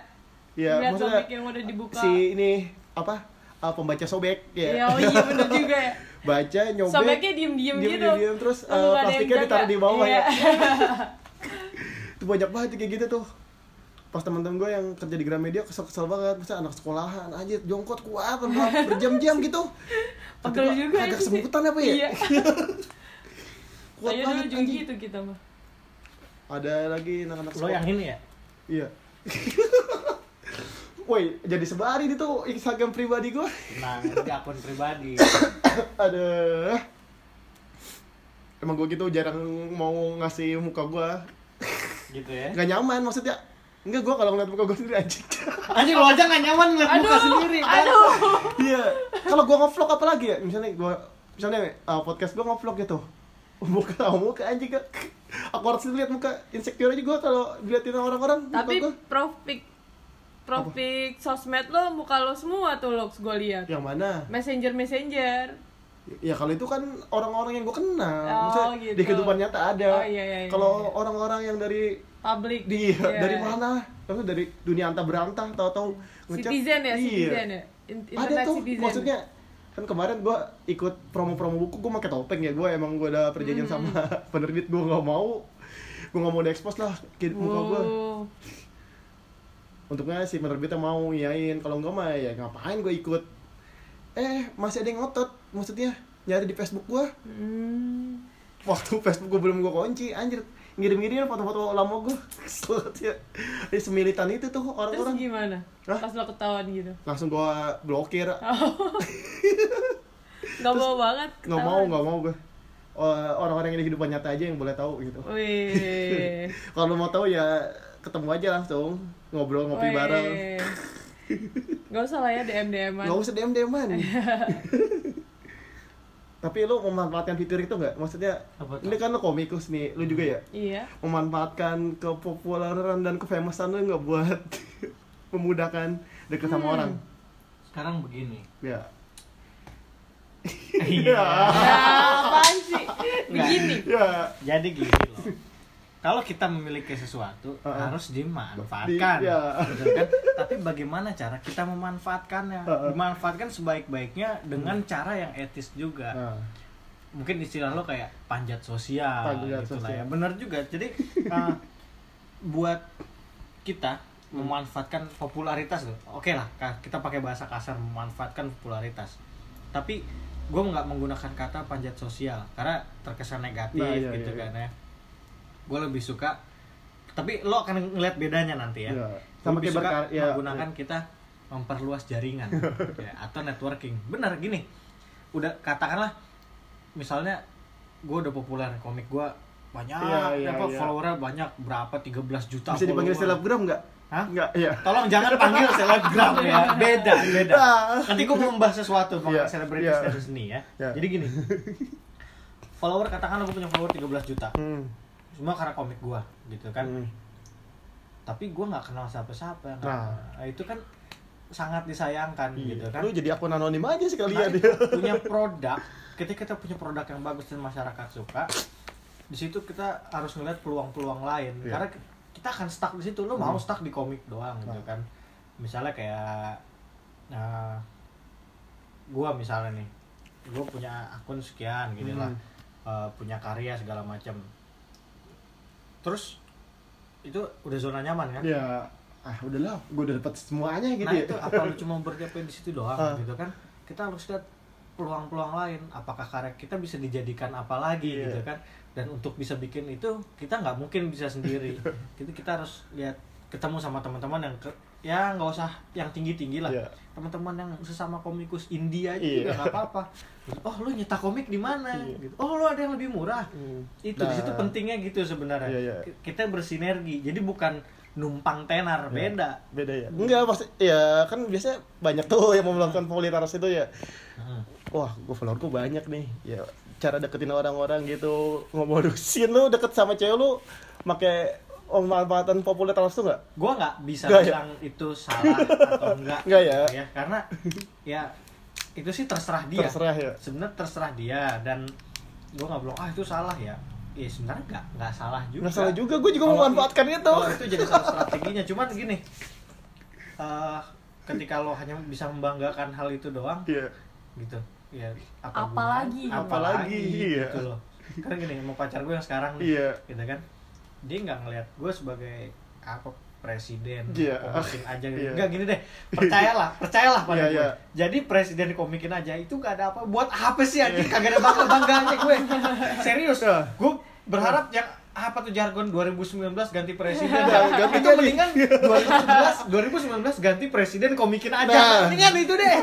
S1: Ya
S2: Lihat
S1: maksudnya
S2: komik yang udah dibuka
S1: si ini apa? Eh uh, pembaca sobek
S2: Iya,
S1: ya
S2: oh iya bener juga ya.
S1: baca nyobek
S2: Sobeknya diem-diem
S1: diem,
S2: gitu.
S1: diem, terus
S2: Lalu nggak
S1: uh,
S2: ada yang
S1: plastiknya
S2: jaga.
S1: ditaruh di bawah
S2: Iya.
S1: ya itu banyak banget kayak gitu tuh pas teman-teman gue yang kerja di Gramedia kesel-kesel banget masa anak sekolahan aja jongkot kuat berapa- berjam-jam gitu Tapi
S2: Pegel
S1: kok
S2: juga
S1: agak
S2: ini.
S1: semputan apa ya
S2: Iya.
S1: kuat
S2: Saya dulu
S1: banget
S2: juga
S1: anjing.
S2: gitu kita mah.
S1: ada lagi anak-anak
S3: Lo yang ini ya?
S1: iya woi jadi sebarin itu Instagram pribadi gue
S3: Nah, di akun pribadi.
S1: ada emang gue gitu jarang mau ngasih muka gue
S3: gitu ya.
S1: nggak nyaman maksudnya enggak gue kalau ngeliat muka gue sendiri anjing
S3: Anjing lo aja gak nyaman ngeliat muka
S2: Aduh,
S3: sendiri. kan? Bang.
S2: aduh.
S1: Iya. Kalau gua nge-vlog apa lagi ya? Misalnya gua misalnya uh, podcast gua nge-vlog gitu. Muka sama muka anjing gak. Aku harus lihat muka insecure aja gua kalau diliatin sama orang-orang. muka
S2: Tapi
S1: gua.
S2: profik profik sosmed lo muka lo semua tuh lo gue lihat.
S1: yang mana?
S2: Messenger messenger.
S1: Ya kalau itu kan orang-orang yang gua kenal.
S2: Oh,
S1: Maksudnya
S2: gitu.
S1: di kehidupan nyata ada.
S2: Oh, iya, iya, iya,
S1: kalau
S2: iya.
S1: orang-orang yang dari
S2: Public.
S1: di
S2: Iya.
S1: dari mana? Maksudnya dari dunia antah berantah tahu-tahu ngechat. Iya.
S2: Citizen ya, citizen ya. In-
S1: ada
S2: Internet
S1: tuh
S2: citizen.
S1: maksudnya kan kemarin gue ikut promo-promo buku gue pakai topeng ya gue emang gue ada perjanjian
S2: Hmm.
S1: sama penerbit gue nggak mau gue nggak mau diekspos lah ke muka gue
S2: Wow.
S1: untungnya si penerbitnya mau ngiyain kalau enggak mah ya ngapain gue ikut eh masih ada yang ngotot maksudnya nyari di Facebook gue
S2: Hmm.
S1: waktu Facebook gue belum gue kunci anjir ngirim-ngirimin foto-foto lama gue kesel banget ya Ini semilitan itu tuh
S2: Terus
S1: orang-orang
S2: gimana?
S1: Hah?
S2: Pas lo ketahuan gitu.
S1: langsung gue blokir
S2: Gak mau banget.
S1: nggak mau nggak mau gue Eh, orang-orang yang di kehidupan nyata aja yang boleh tahu gitu
S2: Wih.
S1: kalau mau tahu ya ketemu aja langsung ngobrol ngopi
S2: Wih.
S1: bareng
S2: Gak usah lah ya DM DM an.
S1: nggak usah dm dman tapi lu memanfaatkan fitur itu nggak maksudnya
S3: Apa tuh?
S1: ini kan lu komikus nih lu juga ya
S2: Iya.
S1: memanfaatkan kepopuleran dan kefamousan lu nggak buat memudahkan deket sama orang
S3: Sekarang begini.
S1: ya
S3: Iya.
S2: Nah, apaan sih? Begini.
S1: ya
S3: Jadi gini loh. Kalau kita memiliki sesuatu
S1: Heeh.
S3: harus dimanfaatkan.
S1: Di- iya.
S3: betul kan? Tapi bagaimana cara kita memanfaatkannya?
S1: Heeh.
S3: Dimanfaatkan sebaik-baiknya dengan cara yang etis juga.
S1: nah,
S3: mungkin istilah lo kayak panjat sosial
S1: Panjat
S3: gitu lah ya
S1: sosial.
S3: bener juga jadi eh, buat kita
S1: Hmm.
S3: memanfaatkan popularitas loh oke lah ka- kita pakai bahasa kasar memanfaatkan popularitas tapi gue nggak menggunakan kata panjat sosial karena terkesan negatif
S1: Nah, iya,
S3: gitu
S1: iya,
S3: kan ya gue lebih suka tapi lo akan ngeliat bedanya nanti ya
S1: Iya.
S3: sama
S1: Sama
S3: lebih
S1: kayak
S3: suka
S1: berkar- ya,
S3: menggunakan kita memperluas jaringan ya, atau networking bener gini udah katakanlah misalnya gue udah populer komik gue banyak
S1: Iya, iya,
S3: apa
S1: iya.
S3: followernya banyak berapa 13 juta
S1: bisa dipanggil
S3: follower.
S1: selebgram nggak
S3: Hah?
S1: nggak ya
S3: tolong jangan panggil selebgram ya beda beda
S1: Ah.
S3: nanti gue mau membahas sesuatu mengenai
S1: Iya,
S3: selebritis
S1: iya.
S3: status ini ya
S1: Iya.
S3: jadi gini follower katakanlah gue punya follower 13 juta
S1: hmm.
S3: semua karena komik gue gitu kan
S1: Hmm.
S3: tapi gue nggak kenal siapa-siapa nggak-
S1: Nah. Iya.
S3: nah, itu kan sangat disayangkan gitu kan
S1: lu jadi akun anonim aja
S3: Nah,
S1: sekalian
S3: itu punya produk ketika kita punya produk yang bagus dan masyarakat suka di situ kita harus ngeliat peluang-peluang lain
S1: Iya. Hmm.
S3: karena kita akan stuck di situ lo mau stuck di komik doang gitu
S1: Nah.
S3: kan misalnya kayak nah, gua misalnya nih gua punya akun sekian gitu lah
S1: Hmm.
S3: Eh, punya karya segala macam terus itu udah zona nyaman kan
S1: ya ah udahlah gue udah dapat semuanya gitu
S3: nah
S1: ya
S3: itu apa lu cuma berdiam di situ doang
S1: Ah.
S3: gitu kan kita harus lihat peluang-peluang lain apakah karya kita bisa dijadikan apa lagi
S1: Iya.
S3: gitu kan dan untuk bisa bikin itu kita nggak mungkin bisa sendiri jadi kita harus lihat ketemu sama teman-teman yang ke, ya nggak usah yang tinggi-tinggi lah
S1: Iya.
S3: teman-teman yang sesama komikus India aja
S1: Iya.
S3: juga nggak apa-apa Gitu, oh lu nyetak komik di mana
S1: Iya.
S3: gitu oh lu ada yang lebih murah
S1: Hmm.
S3: itu
S1: Nah.
S3: di situ pentingnya gitu sebenarnya
S1: Iya, iya.
S3: Ki- kita bersinergi jadi bukan numpang tenar beda
S1: beda ya enggak pasti ya kan biasanya banyak tuh yang mau melakukan popularitas itu ya
S3: Heeh.
S1: wah gue follower gue banyak nih ya cara deketin orang-orang gitu ngomodusin lu deket sama cewek lu make pemanfaatan popularitas tuh nggak
S3: gue nggak bisa
S1: Nggak ya?
S3: bilang itu salah atau enggak gitu
S1: Nggak ya?
S3: karena ya itu sih terserah dia
S1: Terserah ya.
S3: sebenarnya terserah dia dan gue nggak bilang ah itu salah ya ya sebenarnya nggak nggak salah juga
S1: nggak salah juga gue juga
S3: Kalau
S1: memanfaatkan
S3: i-
S1: itu
S3: kalau itu jadi salah strateginya cuman gini eh ketika lo hanya bisa membanggakan hal itu doang
S1: Iya.
S3: gitu ya apa
S2: Apalagi.
S3: gunanya?
S1: Apalagi,
S3: apalagi
S1: iya.
S3: gitu loh karena gini mau pacar gue yang sekarang nih
S1: Iya.
S3: gitu kan dia nggak ngeliat gue sebagai apa presiden
S1: Iya.
S3: komikin aja gitu
S1: Iya.
S3: nggak gini deh percayalah percayalah pada
S1: Iya,
S3: gue
S1: iya.
S3: jadi presiden komikin aja itu gak ada apa buat apa sih anjing kagak ada bangga bangganya gue serius
S1: Iya.
S3: gue berharap yang "Ah, apa tuh jargon 2019 ganti presiden ya?"
S1: Nah, ganti
S3: itu
S1: jadi.
S3: mendingan 2011 2019 ganti presiden komikin
S1: Nah.
S3: aja mendingan itu deh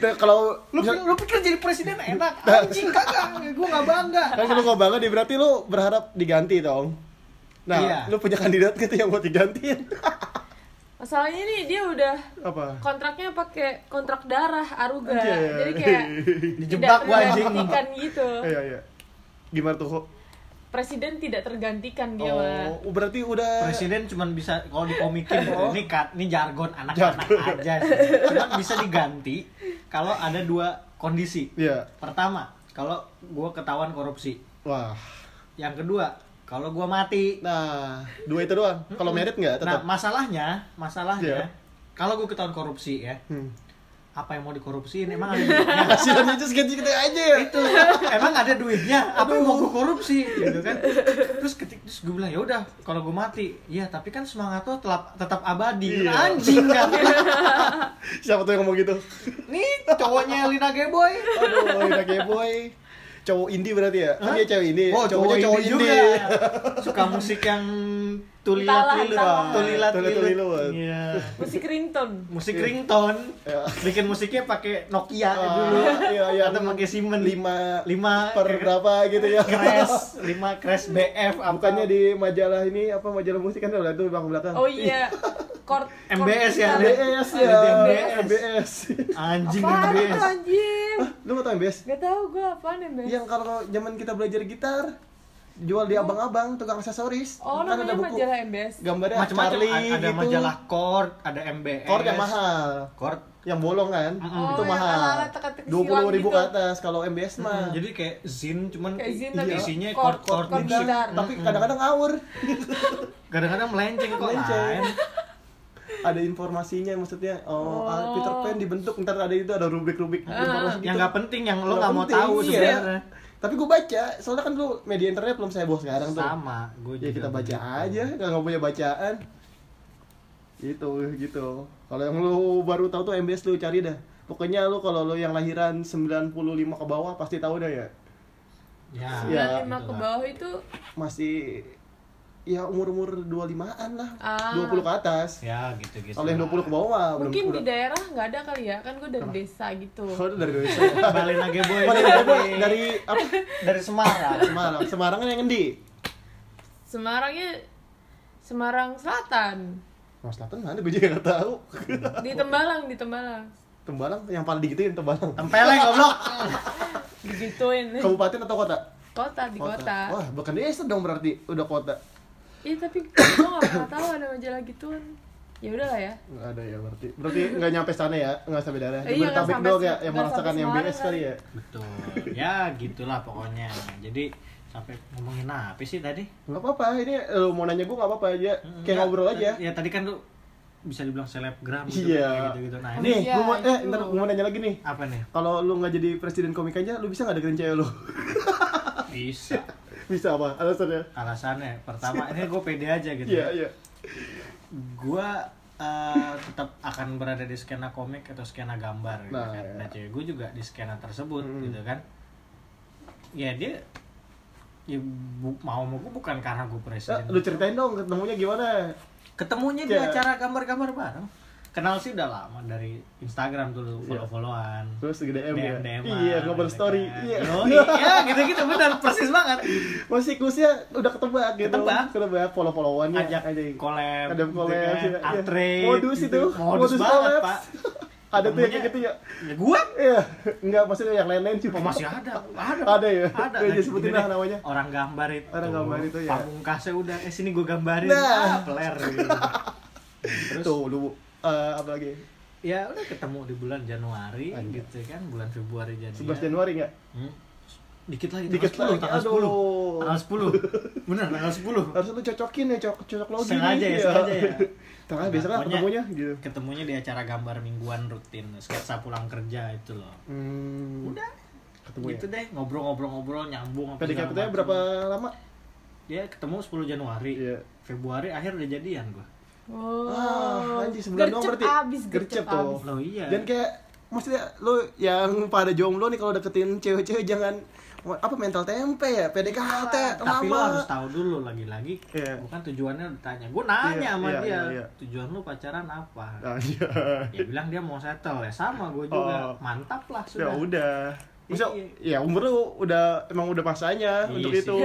S1: Nah, kalau
S3: lu,
S1: misal-
S3: lu pikir jadi presiden enak
S1: Nah.
S3: anjing kagak gue nggak bangga
S1: kan kalau nggak bangga dia berarti lu berharap diganti dong. Nah,
S3: Iya.
S1: lu punya kandidat gitu yang buat digantiin.
S2: Masalahnya nih dia udah
S1: Apa?
S2: kontraknya pakai kontrak darah aruga.
S1: Anjay.
S2: Jadi kayak
S3: Dijebak gua,
S2: tidak
S3: anjing.
S2: tergantikan gitu.
S1: Iya, iya. Gimana tuh? Ho?
S2: Presiden tidak tergantikan dia. Wan.
S1: Oh, berarti udah
S3: presiden cuman bisa kalau dikomikin gitu
S1: Oh.
S3: ini kat ini jargon anak-anak aja sih cuman bisa diganti kalau ada dua kondisi
S1: Iya.
S3: pertama kalau gue ketahuan korupsi
S1: Wah.
S3: yang kedua kalau gue mati
S1: Nah, dua itu doang. Kalau merit nggak
S3: nah
S1: tetap?
S3: masalahnya masalahnya
S1: Iya.
S3: kalau gue ketahuan korupsi ya
S1: Hmm.
S3: apa yang mau dikorupsiin emang ada duitnya?
S1: Hasilannya itu segitu gitu aja ya.
S3: itu emang ada duitnya apa yang mau gue korupsi gitu kan terus ketik terus gue bilang ya udah kalau gue mati ya tapi kan semangat lo tetap tetap abadi
S1: Iya.
S3: anjing kan
S1: Siapa tuh yang ngomong gitu?
S3: nih cowoknya Lina Geboy
S1: Aduh, udah kayak boy. Cowok indie berarti ya? Kan dia cewek indie. Iya.
S3: oh cowoknya
S1: cowoknya
S3: cowok juga suka musik yang tulila
S2: Entahlah,
S3: tulila
S2: entahlah.
S3: tulila
S1: Tulila-tuliluan.
S3: Iya.
S2: Musik ringtone.
S3: musik ringtone
S1: Ya.
S3: bikin musiknya pakai Nokia
S1: Iya. Ah,
S3: dulu
S1: iya, iya.
S3: atau pakai Siemens
S1: Lima,
S3: lima
S1: per berapa gitu ya?
S3: crash lima crash BF apa?
S1: Bukannya di majalah ini apa majalah musik kan ada tuh belakang belakang.
S2: Oh iya. Kort,
S3: MBS ya,
S2: kort-
S1: MBS ya.
S3: Ada di MBS.
S1: MBS.
S3: anjing
S2: Apaan
S3: MBS.
S2: itu anjing?
S1: Lu mau tau MBS?
S2: Gak tau gue apaan MBS.
S1: Yang kalau zaman kita belajar gitar jual di abang-abang tukang aksesoris
S2: Iya. Oh
S1: kan
S2: namanya majalah MBS.
S1: gambarnya
S3: macam-macam
S1: Charlie
S3: ada, ada
S1: gitu.
S3: majalah chord ada MBS
S1: Kord yang mahal
S3: Chord.
S1: yang bolong kan
S2: Oh,
S1: itu
S2: yang
S1: mahal
S2: ala-ala teka-teki
S1: dua puluh
S2: silang
S1: ribu
S2: gitu.
S1: ke atas kalau MBS mah
S3: jadi kayak zin cuman
S2: Kayak zin,
S3: i-
S2: tapi
S3: isinya
S2: chord,
S3: chord chord,
S2: chord
S3: musik.
S2: gitar.
S1: tapi kadang-kadang ngawur
S3: kadang-kadang melenceng kok
S1: Melenceng.
S3: lain
S1: ada informasinya maksudnya oh, ah, Peter Pan dibentuk ntar ada itu ada rubrik-rubrik
S2: Ah.
S1: informasi
S3: yang
S1: gitu.
S3: nggak penting yang lo
S1: Nggak
S3: nggak mau
S1: penting,
S3: tahu
S1: iya.
S3: sebenarnya
S1: tapi gue baca soalnya kan dulu media internet belum saya bawa sekarang tuh
S3: sama gue
S1: ya kita baca aja kalau nggak punya bacaan gitu gitu kalau yang lu baru tahu tuh MBS lu cari dah pokoknya lu kalau lu yang lahiran 95 ke bawah pasti tahu dah ya
S3: ya,
S1: Iya. Ah,
S2: Sembilan Nah, lima
S3: gitu
S2: ke
S3: lah.
S2: bawah itu
S1: masih ya umur-umur 25-an lah
S2: Ah.
S1: 20 ke atas
S3: ya gitu gitu
S1: kalau yang 20 ke bawah mah belum
S2: mungkin di
S1: udah-
S2: daerah nggak ada kali ya kan gue dari desa gitu.
S1: Oh, itu dari Indonesia
S3: balik lagi boy
S1: Mana yang kedua? dari apa?
S3: dari Semarang
S1: Semarang Semarang kan yang ngendi
S2: Semarangnya Semarang Selatan
S1: Mas Selatan mana gue juga gak tahu
S2: di Tembalang di Tembalang
S1: Tembalang yang paling digituin Tembalang
S3: tempeleng goblok
S2: digituin
S1: kabupaten atau kota?
S2: kota di kota.
S1: Wah, bukan desa dong berarti udah kota.
S2: Iya tapi gue nggak pernah tahu ada majalah gituan. Ya udahlah ya.
S1: Nggak ada ya berarti. Berarti nggak nyampe sana ya, nggak sampai daerah.
S2: Iya,
S1: Di Bodetabek
S2: nggak
S1: doang
S2: sampai-
S1: ya yang
S2: nggak
S1: merasakan
S2: sampai
S1: yang
S2: Semarang
S1: BS kali ya.
S3: betul ya gitulah pokoknya jadi sampai ngomongin apa sih tadi
S1: Nggak apa-apa, ini eh, lu mau nanya gue nggak apa-apa aja.
S2: Hmm,
S1: Kayak
S3: Enggak,
S1: ngobrol
S2: Iya,
S1: aja.
S3: Ya tadi kan lu bisa dibilang selebgram gitu
S1: Iya.
S3: kayak gitu-gitu. Nah, ini
S1: Nih,
S2: Iya,
S1: gua mau, eh,
S2: itu.
S1: ntar gua mau nanya lagi nih.
S3: apa nih?
S1: Kalau lu nggak jadi presiden komik aja, lu bisa nggak deketin cewek lu?
S3: Bisa.
S1: bisa apa? Alasannya?
S3: Alasannya pertama ini gue pede aja gitu.
S2: ya.
S1: Iya, iya.
S3: Gue eh, tetap akan berada di skena komik atau skena gambar gitu
S1: Nah,
S3: kan.
S1: iya.
S3: Nah, cewek gue juga di skena tersebut
S1: Hmm.
S3: gitu kan. Ya dia ya bu- mau mau gue bukan karena gue
S1: Eh,
S3: presiden.
S1: lu ceritain dong ketemunya gimana?
S3: Ketemunya di
S1: Ya.
S3: acara gambar-gambar bareng. Kenal sih udah lama dari Instagram dulu follow-followan.
S1: Iya. Terus ke DM, ya?
S3: DM DM
S1: Iya, ngobrol story.
S2: kan.
S3: iya
S1: Iya.
S3: iya gitu gitu benar persis banget
S1: Masih siklusnya udah ketebak gitu.
S3: Ketebak.
S1: Ketebak follow-followannya.
S3: ajak
S1: anjing.
S3: collab
S1: ada collab
S3: gitu
S1: ya,
S3: kan,
S1: iya.
S3: upgrade,
S1: modus
S3: gitu.
S1: itu
S3: modus, banget
S1: collabs.
S3: pak
S1: ada tuh yang
S3: Temennya-
S1: kayak gitu ya
S3: ya gua
S1: iya enggak maksudnya yang lain-lain sih
S3: oh, masih ada ada
S1: Ada ya?
S3: ada
S1: Ya,
S3: Nah, gitu
S1: disebutin
S3: deh.
S1: lah namanya.
S3: orang gambar itu
S1: Orang gambar itu, ya.
S3: pamungkasnya udah eh sini gua gambarin
S1: Nah.
S3: ah, peler gitu. terus
S1: tuh lu eh, apa lagi
S3: ya udah ketemu di bulan Januari
S1: Anjay.
S3: gitu kan bulan Februari jadi
S1: 11 Januari enggak
S3: Hmm. dikit lagi
S1: Dikit
S3: tanggal 10
S1: lagi,
S3: tanggal
S1: aduh.
S3: 10 tanggal 10 bener tanggal 10
S1: harus lu cocokin ya cocok cocok logi
S3: sengaja
S1: nih.
S3: ya
S1: Iya.
S3: sengaja ya
S1: Tengah biasa kan
S3: Pokoknya-
S1: ketemunya gitu.
S3: ketemunya di acara gambar mingguan rutin sketsa pulang kerja itu loh
S1: Hmm,
S3: udah
S1: ketemu
S3: gitu
S1: ya.
S3: deh ngobrol-ngobrol-ngobrol nyambung apa segala
S1: PDKT-nya
S3: macem.
S1: berapa lama?
S3: dia ketemu 10 Januari
S1: Iya.
S3: Februari akhir udah jadian gua
S2: Wow.
S1: Ah, anjing sebulan doang
S2: Gercep
S1: berarti.
S2: abis,
S1: Gercep
S2: gercep
S1: tuh.
S2: abis.
S3: loh iya
S1: Dan kayak maksudnya lu yang pada jomblo nih kalau deketin cewek-cewek jangan apa mental tempe ya PDKT
S3: tapi lo harus
S1: lama.
S3: tahu dulu lagi-lagi
S1: Iya.
S3: bukan tujuannya ditanya gue nanya
S1: Iya,
S3: sama
S1: iya,
S3: dia
S1: iya, iya.
S3: tujuan lu pacaran apa
S1: Nah, iya.
S3: dia bilang dia mau settle ya sama gue juga
S1: Oh.
S3: mantap lah
S1: Ya
S3: sudah
S1: udah. Maksudnya,
S3: Iya.
S1: ya umur lu udah emang udah masanya
S3: Iya
S1: untuk
S3: sih.
S1: itu.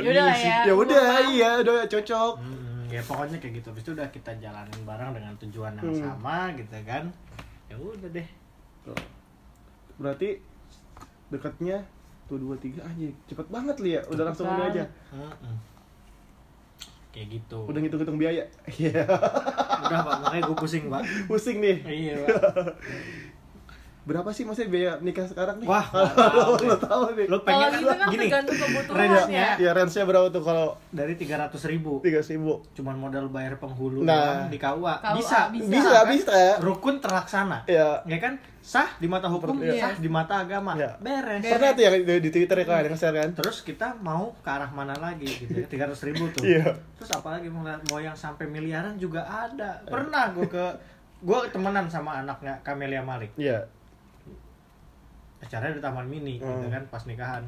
S2: Yaudah lah ya.
S1: ya udah,
S2: Gua paham.
S1: iya udah cocok.
S3: Hmm, ya pokoknya kayak gitu habis itu udah kita jalanin bareng dengan tujuan yang
S1: Hmm.
S3: sama gitu kan ya udah deh
S1: Tuh. Berarti dekatnya tuh dua tiga anjir cepet banget li ya udah langsung ini
S2: banget.
S1: aja
S3: Mm-mm. kayak gitu
S1: udah ngitung-ngitung biaya iya
S3: Udah, pak makanya gue pusing pak
S1: pusing nih
S3: iya pak
S1: berapa sih maksudnya biaya nikah sekarang nih
S3: Wah,
S1: kalau
S3: nggak tahu
S1: lo
S3: deh.
S1: tahu nih
S3: lo
S2: Kalau
S3: pengen
S2: gitu kan
S3: gini Iya.
S2: tergantung kebutuhan
S3: range-nya.
S2: ya.
S1: ya range nya berapa tuh kalau
S3: dari 300.000 ribu
S1: tiga ribu
S3: cuman modal bayar penghulu
S1: Nah.
S3: doang di KUA
S2: KUA,
S3: bisa,
S2: bisa.
S1: bisa
S3: kan?
S1: bisa
S3: rukun terlaksana
S1: ya
S3: ya kan sah di mata hukum
S1: Iya.
S3: sah di mata agama
S1: Iya.
S3: beres
S1: pernah tuh yang di, di twitter kan yang share kan
S3: terus kita mau ke arah mana lagi gitu tiga ratus ribu tuh
S1: Iya.
S3: terus apalagi mau, mau yang sampai miliaran juga ada pernah gue ke gue temenan sama anaknya Camelia Malik
S1: iya
S3: acaranya di Taman Mini gitu
S1: Hmm.
S3: kan pas nikahan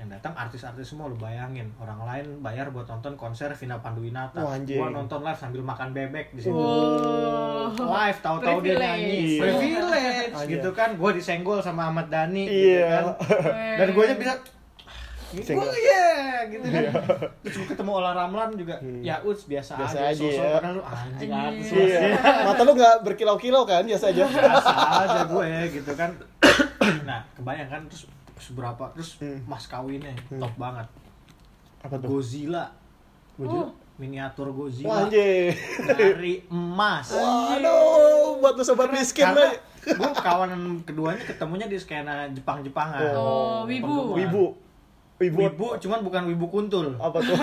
S3: yang datang artis-artis semua lu bayangin orang lain bayar buat nonton konser Vina Panduwinata
S1: Wah, anjing.
S3: gua nonton live sambil makan bebek di situ
S2: Wow.
S3: live tahu-tahu dia nyanyi
S1: Privilege.
S3: privilege
S1: Iya. Anjing.
S3: gitu kan gua disenggol sama Ahmad Dhani gitu kan
S1: iya
S3: dan gue aja bisa
S1: Single.
S3: gue ya gitu kan terus gue ketemu Ola Ramlan juga
S1: Iya. Hmm.
S3: ya uts biasa,
S1: Biasa
S3: aja,
S1: aja
S3: sosok
S1: ya.
S3: kan lu anjing artis
S2: Anjing.
S3: mas.
S1: iya mata lu nggak berkilau-kilau kan biasa aja
S3: biasa aja gue gitu kan nah kebayang kan terus seberapa terus
S1: Hmm.
S3: mas kawinnya
S1: Hmm.
S3: top banget
S1: apa tuh
S3: Godzilla
S2: Uh.
S1: Bujuk?
S3: miniatur
S1: wah
S3: Godzilla
S1: anjir
S3: dari emas
S1: Waduh, buat lu sobat miskin
S3: karena
S1: Ray.
S3: gue kawanan keduanya ketemunya di skena Jepang-Jepangan
S2: Oh, wibu.
S3: Penggemar.
S1: Wibu. Wibu. Oh.
S3: wibu cuman bukan wibu kuntul
S1: apa tuh?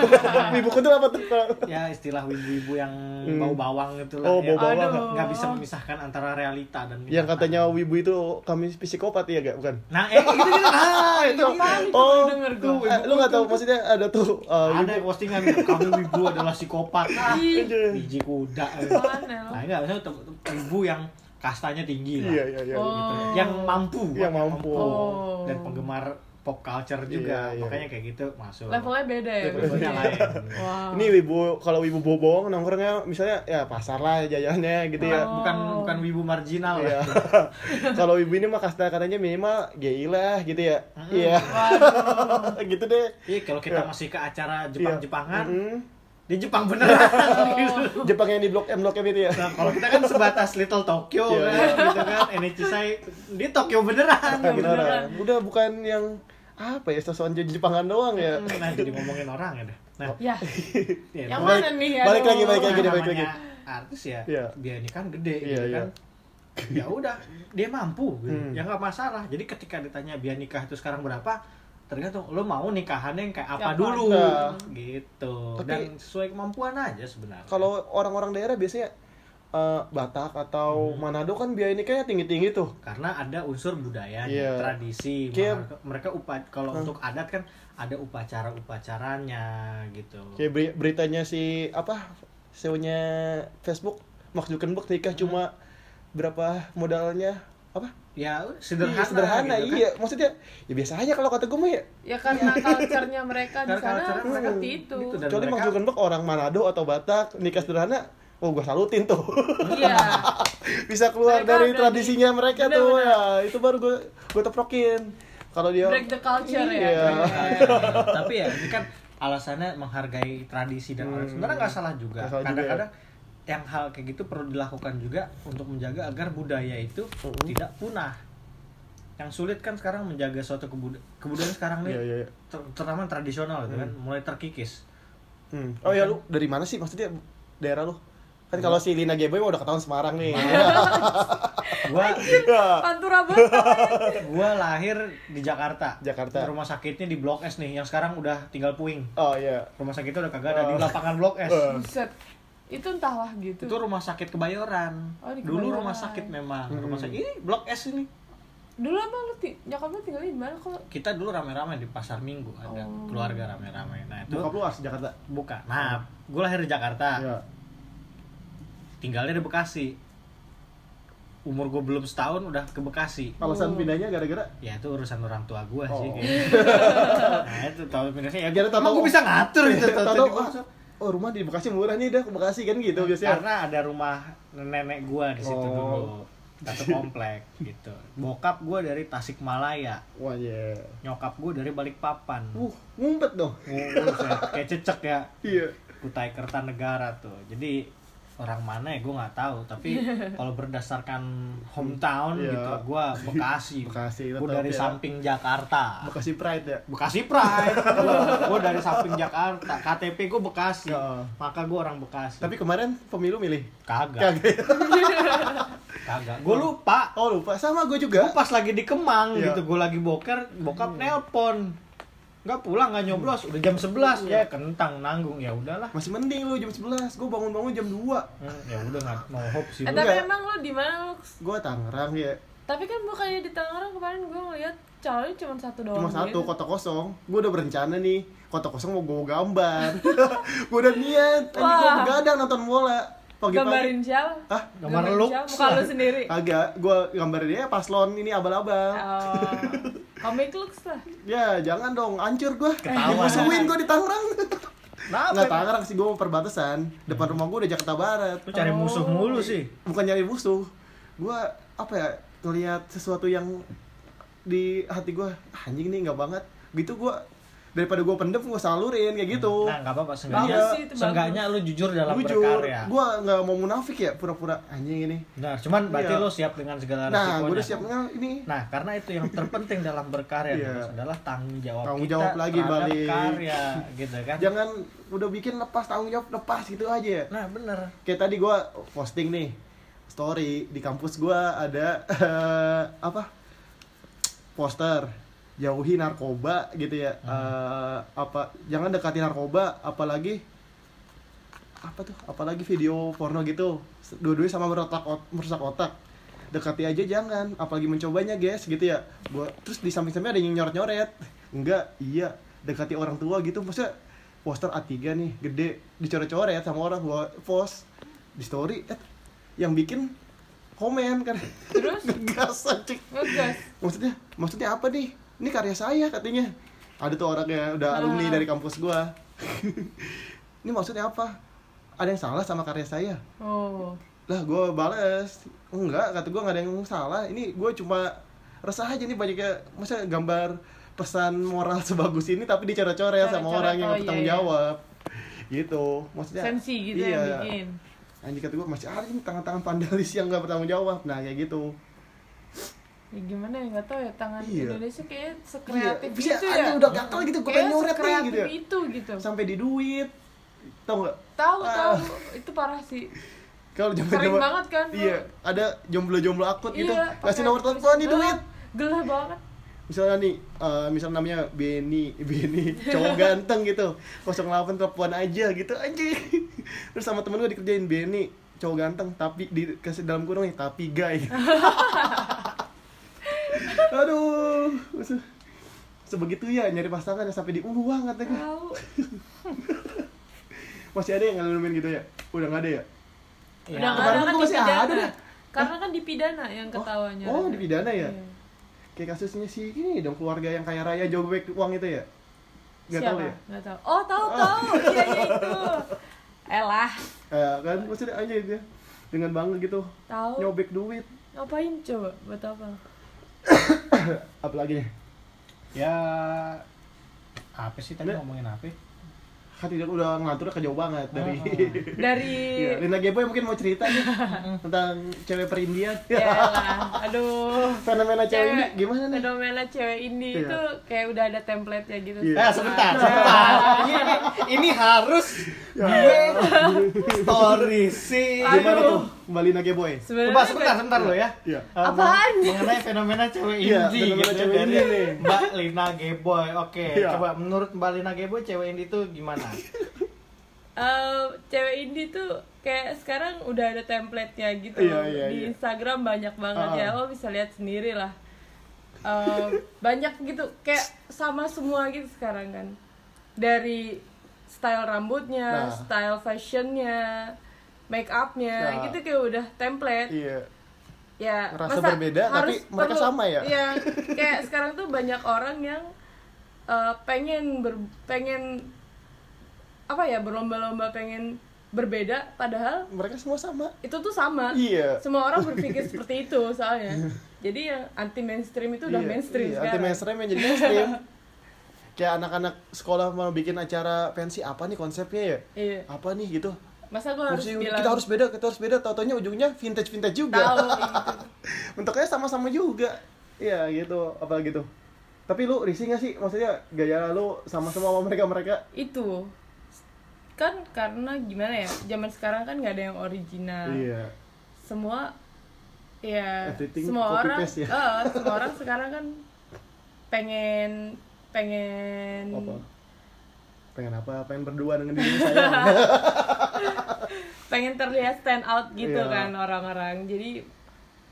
S1: Wibu kuntul apa tuh?
S3: ya istilah wibu-wibu yang
S1: Hmm.
S3: bau bawang gitu lah
S1: Oh,
S3: ya.
S1: bau bawang.
S2: Aduh.
S3: nggak bisa memisahkan antara realita dan
S1: Yang
S3: kenyataan.
S1: katanya Wibu itu kami psikopat ya gak? Bukan.
S3: nah eh gitu gitu nah itu
S1: Eh, Oh,
S2: denger
S1: tuh,
S2: gua.
S1: eh, lu gak tahu maksudnya ada tuh eh,
S3: Ah, ada
S1: Wibu.
S3: postingan kami wibu adalah psikopat ah,
S2: Ih,
S3: biji kuda eh.
S2: Mana lu?
S3: nah enggak maksudnya tem- tem- wibu yang kastanya tinggi lah
S1: Iya, iya, iya.
S2: Oh.
S3: gitu. yang mampu
S1: Yang mampu.
S2: Oh.
S3: dan penggemar pop culture juga
S1: Iya, iya.
S3: makanya kayak gitu masuk
S2: Levelnya beda ya.
S3: Levelnya
S2: berarti.
S3: lain
S2: Wow.
S1: Ini Wibu kalau Wibu bobong nongkrongnya misalnya ya pasar lah jajannya gitu ya.
S2: Oh.
S3: bukan bukan wibu marginal
S1: Iya.
S3: lah
S1: kalau Wibu ini mah kasta katanya minimal GI lah gitu ya.
S2: Ah.
S3: Mm.
S1: Iya.
S2: Waduh.
S1: gitu deh.
S3: Iya kalau kita
S1: Iya.
S3: masih ke acara
S1: Iya.
S3: Jepang-Jepangan,
S1: Mm.
S3: di Jepang beneran.
S2: Oh.
S3: Gitu.
S1: Jepang yang di blok M blok M itu ya.
S3: Nah, kalau kita kan sebatas Little Tokyo
S1: Iya.
S3: kan, gitu kan, NHCI di Tokyo beneran.
S1: Bukan
S3: gitu.
S1: beneran. Udah bukan yang apa ya sosokan jadi Jepangan doang ya.
S3: Nah jadi ngomongin orang ya dah. Nah,
S2: Ya,
S3: ya,
S2: yang
S1: Balik-
S2: mana nih?
S1: balik
S2: Aduh.
S1: lagi, balik lagi.
S3: namanya
S1: balik lagi.
S3: Artis ya,
S1: Iya.
S3: dia ini kan gede,
S1: Iya,
S3: gitu
S1: iya.
S3: kan. Ya udah, dia mampu, gitu.
S1: Hmm.
S3: ya nggak masalah. Jadi ketika ditanya biaya nikah itu sekarang berapa, tergantung lo mau nikahannya yang kayak apa
S2: Yang
S3: dulu,
S1: mana.
S3: gitu.
S1: Tapi-
S3: Dan sesuai kemampuan aja sebenarnya.
S1: Kalau orang-orang daerah biasanya eh, Batak atau
S2: Hmm.
S1: Manado kan biaya nikahnya tinggi-tinggi tuh.
S3: karena ada unsur budaya
S1: Iya.
S3: tradisi
S1: Kayak-
S3: mereka, mereka upa- kalau
S1: Hmm.
S3: untuk adat kan ada upacara upacaranya gitu
S1: Kayak beri- beritanya si apa? CEO-nya Facebook Mark Zuckerberg nikah cuma
S2: Hmm.
S1: berapa modalnya? Apa?
S3: ya sederhana
S1: Sederhana, sederhana
S3: gitu kan.
S1: iya. Maksudnya ya biasa aja kalau kata gue mah ya.
S2: Ya karena culture-nya mereka di
S3: Karena
S2: sana hmm,
S3: culture-nya mereka
S2: seperti itu.
S3: gitu dan
S1: Kecuali Mark
S3: mereka
S1: Zuckerberg orang Manado atau Batak nikah sederhana, oh gua salutin tuh.
S2: Iya.
S1: Bisa keluar
S2: Mereka
S1: dari
S2: udah di-
S1: tradisinya mereka
S2: Benar,
S1: tuh
S2: benar.
S1: ya. Itu baru gue gue teprokin. Kalau dia
S2: Break the culture ya.
S1: Iya.
S3: Eh, tapi ya ini kan alasannya menghargai tradisi dan adat. sebenarnya nggak salah juga
S1: Hmm. Nggak salah juga ya.
S3: kadang-kadang yang hal kayak gitu perlu dilakukan juga untuk menjaga agar budaya itu
S1: Mm-mm.
S3: tidak punah yang sulit kan sekarang menjaga suatu kebud- kebudayaan sekarang nih
S1: Iya, iya, iya.
S3: ter- terutama tradisional gitu kan mulai terkikis
S1: Hmm. Oh ya lu dari mana sih maksudnya daerah lu? Kan kalau si Lina Geboy udah ketahuan Semarang nih. Iya.
S3: gua
S1: Ya.
S2: Pantura banget.
S3: gua lahir di Jakarta
S1: Jakarta.
S3: rumah sakitnya di Blok S nih yang sekarang udah tinggal puing
S1: Oh iya. Oh.
S3: rumah sakitnya udah kagak ada di lapangan Blok S
S1: Eh.
S2: Buset. itu entahlah gitu
S3: itu rumah sakit kebayoran
S2: Oh, di
S3: dulu
S2: Kebayoran.
S3: rumah sakit memang
S1: Hmm.
S3: rumah sakit ini blok S ini
S2: dulu emang lu ti- nyokap lu tinggalnya di mana kok
S3: kita dulu rame-rame di pasar minggu ada
S2: Oh.
S3: keluarga rame-rame nah itu
S1: Bokap lu asli Jakarta.
S3: buka nah gue lahir di Jakarta
S1: Iya.
S3: tinggalnya di Bekasi umur gue belum setahun udah ke Bekasi
S2: Oh.
S1: Alasan pindahnya gara-gara
S3: ya itu urusan orang tua gue sih
S1: Oh.
S3: kayaknya. nah itu tahu pindahnya ya
S1: Biar tahu-
S3: gue bisa ngatur gitu, itu tahu-
S1: Tahu-tahu,
S3: tahu-
S1: "Ah, oh rumah di Bekasi murah nih dah ke Bekasi kan gitu biasanya.
S3: karena ada rumah nenek gue di situ
S1: Oh.
S3: dulu satu komplek gitu bokap gue dari Tasikmalaya
S1: Wah ya.
S3: nyokap gue dari Balikpapan
S1: Uh, ngumpet dong.
S3: Oh, buset. kayak cecek ya
S1: Iya.
S3: Kutai Kertanegara tuh jadi orang mana ya gue nggak tahu tapi kalau berdasarkan hometown
S1: Iya.
S3: gitu gue Bekasi
S1: Bekasi,
S3: gue
S1: tetap
S3: dari
S1: ya.
S3: samping Jakarta
S1: Bekasi Pride ya.
S3: Bekasi Pride gue dari samping Jakarta KTP gue Bekasi
S1: Iya.
S3: maka gue orang Bekasi
S1: Tapi kemarin pemilu milih.
S3: kagak
S1: Kagak. ya?
S3: kagak gue lupa
S1: Oh lupa sama gue
S3: gue
S1: juga.
S3: pas lagi di Kemang
S1: Iya. Hmm.
S3: gitu gue lagi boker bokap nelpon nggak pulang nggak nyoblos udah jam 11
S1: Hmm.
S3: ya kentang nanggung ya udahlah
S1: Masih mending lu jam 11, gue bangun-bangun jam 2
S3: Hmm, ya udah nggak no hope sih
S2: eh,
S3: udah.
S2: tapi
S1: enggak.
S2: emang lu di mana lu
S1: Gue Tangerang ya,
S2: tapi kan bukannya di Tangerang kemarin gue ngeliat calonnya cuma satu doang
S1: cuma satu
S2: gitu.
S1: kota kosong Gue udah berencana nih, kota kosong mau gue gambar Gue udah niat, tadi gue
S2: Wah.
S1: begadang nonton bola Pagi-pagi
S2: gambarin siapa
S1: Hah?
S3: Gambar
S2: Gambarin
S3: lu.
S2: siapa? muka lu sendiri
S1: Agak, gue gambarin dia paslon ini abal-abal
S2: Oh, comic looks lah
S1: Ya jangan dong, hancur gue
S3: Ketawa.
S1: Dimusuhin gue di Tangerang
S3: Kenapa?
S1: Nggak Tangerang sih, gue perbatasan Depan rumah gue udah Jakarta Barat
S3: lu cari musuh
S2: Oh.
S3: mulu sih
S1: bukan nyari musuh gue apa ya ngelihat sesuatu yang di hati gue anjing nih nggak banget gitu gue daripada gue pendem gue salurin kayak gitu
S3: nah nggak apa-apa seenggaknya
S1: Bagus
S2: sih, itu bagus.
S3: seenggaknya lu jujur dalam
S1: jujur
S3: berkarya
S1: gue nggak mau munafik ya pura-pura anjing ini
S3: Benar, cuman berarti
S1: Iya.
S3: lu siap dengan segala
S1: nah gue
S3: resikonya.
S1: udah siap nggak ini
S3: Nah, karena itu yang terpenting dalam berkarya
S1: Iya.
S3: Terus adalah tanggung jawab
S1: Tanggung
S3: kita
S1: jawab lagi,
S3: terhadap
S1: balik.
S3: karya, gitu kan.
S1: jangan udah bikin lepas tanggung jawab lepas gitu aja ya
S3: Nah, bener.
S1: kayak tadi gue posting nih story di kampus gue ada eh, apa poster jauhi narkoba gitu ya Eh, apa jangan dekati narkoba apalagi apa tuh apalagi video porno gitu dua-duanya sama merotak ot- merusak otak dekati aja jangan apalagi mencobanya guys gitu ya gua terus di samping-samping ada yang nyoret-nyoret enggak iya dekati orang tua gitu maksudnya poster A3 nih gede dicoret-coret sama orang gua post di story eh, yang bikin komen kan
S2: Terus?
S1: ngegas anjing
S2: ngegas
S1: maksudnya maksudnya apa nih ini karya saya katanya ada tuh orangnya udah alumni
S2: Ah.
S1: dari kampus gua ini maksudnya apa ada yang salah sama karya saya
S2: oh
S1: lah gua bales enggak kata gua nggak ada yang salah ini gua cuma resah aja nih banyaknya masa gambar pesan moral sebagus ini tapi dicoret-coret sama
S2: Coret-coret,
S1: orang
S2: oh,
S1: yang nggak bertanggung
S2: iya, iya.
S1: jawab gitu maksudnya
S2: sensi gitu
S1: iya.
S2: yang bikin
S1: anjing kata gua masih ada nih tangan-tangan pandalis yang nggak bertanggung jawab nah kayak gitu
S2: ya gimana ya nggak tahu ya tangan
S1: Iya.
S2: Indonesia kayaknya sekreatif
S1: Iya, bisa
S2: itu
S1: aja
S2: ya
S1: udah gatel gitu, gua pengen
S2: Kayaknya
S1: nyoret nih,
S2: sekreatif
S1: gitu ya.
S2: itu gitu
S1: sampai di duit tau nggak
S2: tahu tahu
S1: Ah.
S2: itu parah sih
S1: kalau zaman
S2: Sering banget kan, Bu?
S1: iya ada jomblo-jomblo akut gitu
S2: pakai
S1: kasih nomor telepon nih
S2: gelah-
S1: duit
S2: gelah banget
S1: misalnya nih eh misalnya namanya Benny Benny cowok ganteng gitu 08 telepon aja gitu anjing terus sama temen gue dikerjain Benny cowok ganteng tapi di kasih dalam kurung nih tapi guy aduh se- sebegitu ya nyari pasangan yang sampai diuang katanya
S2: tahu
S1: masih ada yang ngalamin gitu ya udah nggak ada ya
S3: Ya.
S2: udah nggak
S1: Kemarin
S2: ada kan di
S1: tuh masih
S2: pidana
S1: ada dah.
S2: karena kan di pidana yang ketawanya
S1: oh di pidana ya
S2: Iya.
S1: kayak kasusnya si ini dong keluarga yang kaya raya jobek uang itu ya nggak tahu
S2: Siapa?
S1: ya
S2: Nggak tahu. Oh, tahu tahu. Iya, iya itu. Elah,
S1: Eh, kan maksudnya aja dia dengan bangga gitu
S2: tahu.
S1: nyobek duit
S2: Ngapain coba? Buat apa?
S1: apalagi
S3: ya apa sih tadi
S1: Nah.
S3: ngomongin apa?
S1: kan tidak udah ngatur ke jauh banget dari
S2: Dari
S1: Iya, Lina Geboy mungkin mau cerita nih tentang cewek perindian Iya,
S2: ya elah. Aduh.
S1: fenomena cewek ini gimana nih
S2: Fenomena cewek ini
S1: Iya.
S2: itu kayak udah ada template-nya gitu.
S1: Iya.
S3: Eh sebentar, sebentar. ini, ini harus gue
S2: iya.
S3: story sih.
S2: Aduh.
S1: gimana tuh mbak Lina Geboy
S2: Sebenarnya
S3: Coba sebentar, sebentar lo ya.
S1: Iya.
S3: Eh,
S2: Apaan?
S3: Mengenai fenomena cewek
S1: Iya,
S3: indie
S1: fenomena
S3: gitu
S1: cewek
S3: dari
S1: indie nih.
S3: Mbak Lina Geboy. Oke,
S1: Iya.
S3: coba menurut Mbak Lina Geboy cewek indie itu gimana?
S2: eh, cewek indie tuh kayak sekarang udah ada template-nya gitu
S1: Iya,
S2: loh.
S1: iya,
S2: di
S1: iya.
S2: Instagram banyak banget
S1: Ah.
S2: ya lo bisa lihat sendiri lah Eh, banyak gitu kayak sama semua gitu sekarang kan dari style rambutnya
S1: Nah.
S2: style fashionnya make upnya
S1: Nah.
S2: gitu kayak udah template
S1: Iya.
S2: ya
S1: Ngerasa
S2: masa
S1: berbeda, tapi
S2: harus
S1: mereka
S2: perlu-
S1: sama ya?
S2: Iya, kayak sekarang tuh banyak orang yang eh, pengen ber pengen apa ya berlomba-lomba pengen berbeda padahal
S1: Mereka semua sama.
S2: itu tuh sama
S1: Iya.
S2: semua orang berpikir seperti itu soalnya jadi yang anti mainstream itu udah
S1: Iya,
S2: mainstream
S1: iya, anti
S2: sekarang
S1: mainstream yang jadi mainstream. Kayak anak-anak sekolah mau bikin acara pensi apa nih konsepnya ya?
S2: iya
S1: Apa nih gitu?
S2: masa gue harus
S1: Mesti
S2: bilang
S1: kita harus beda, kita harus beda. Tau-taunya ujungnya vintage-vintage
S2: tahu gitu.
S1: juga. Bentuknya sama-sama juga. Iya gitu, apalagi tuh. Tapi lu risih gak sih? Maksudnya gaya lu sama-sama sama mereka-mereka?
S2: gitu. itu kan karena gimana ya zaman sekarang kan nggak ada yang original
S1: Iya.
S2: semua ya
S1: Everything
S2: semua
S1: copy
S2: orang
S1: paste ya?
S2: eh, semua orang sekarang kan pengen pengen
S1: Apa? Pengen apa? Pengen berdua dengan diri saya.
S2: pengen terlihat stand out gitu
S1: Iya.
S2: kan orang-orang jadi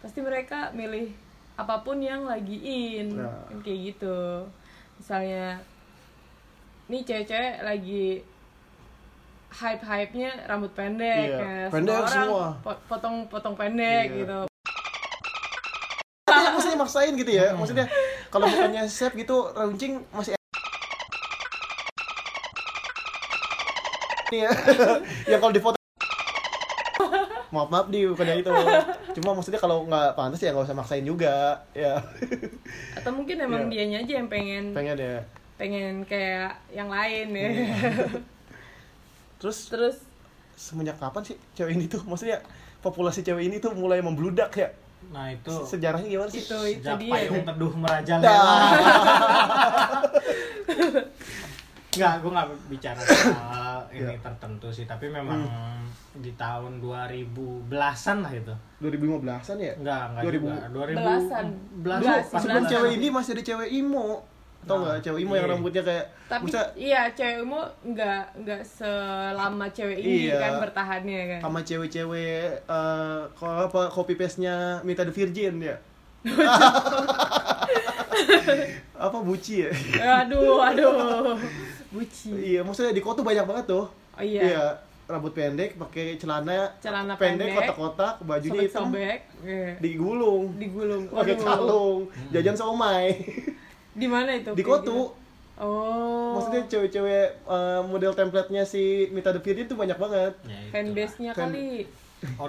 S2: pasti mereka milih apapun yang lagi in
S1: Nah.
S2: Kan kayak gitu misalnya nih cewek-cewek lagi hype-hype-nya rambut pendek ya.
S1: Iya, pendek
S2: orang
S1: semua.
S2: po- potong-potong pendek
S1: Iya.
S2: gitu
S1: Iya, maksudnya maksain gitu ya maksudnya kalau bukannya chef gitu runcing masih ini ya yang kalau di foto maaf maaf di bukannya itu cuma maksudnya kalau nggak pantas ya nggak usah maksain juga ya
S2: atau mungkin emang
S1: Iya.
S2: dianya aja yang pengen
S1: pengen ya
S2: pengen kayak yang lain ya
S1: Iya. terus
S2: terus
S1: semenjak kapan sih cewek ini tuh maksudnya populasi cewek ini tuh mulai membludak ya
S3: Nah itu
S1: Se- sejarahnya gimana sih
S2: itu itu
S3: sejak
S2: dia Nah.
S3: payung teduh merajalela.
S1: Dah.
S3: Enggak, gue nggak bicara soal ini
S1: Iya.
S3: tertentu sih, tapi memang di tahun 2010-an lah itu.
S1: 2015an ya
S3: Enggak, enggak
S1: 2000.
S3: juga. 2000
S2: Belasan.
S3: Belasan. Ya,
S2: Belasan.
S3: pas
S1: sebelum
S2: Belasan.
S1: Kan cewek ini masih ada cewek imo tau
S3: Nah,
S1: nggak cewek imo yang
S3: iya.
S1: rambutnya kayak
S2: tapi
S1: maksudnya
S2: iya cewekmu nggak nggak selama cewek ini
S1: Iya.
S2: kan bertahannya kan
S1: sama cewek-cewek eh kalau apa copy paste nya Mita the Virgin ya apa buci ya
S2: aduh aduh buci
S1: iya maksudnya di kota banyak banget tuh
S2: oh iya
S1: rambut pendek pakai celana
S2: Celana pendek,
S1: kotak-kotak bajunya hitam
S2: sobek-sobek iya.
S1: digulung
S2: digulung
S1: pakai
S2: Waduh.
S1: kalung jajan somai
S2: di mana itu
S1: di
S2: Kayak gitu?
S1: kotu
S2: oh
S1: maksudnya cewek-cewek eh, model template-nya si Mita the Virgin tuh banyak banget
S3: Ya, itulah.
S2: fanbase nya
S1: Fan- Hmm.
S2: kali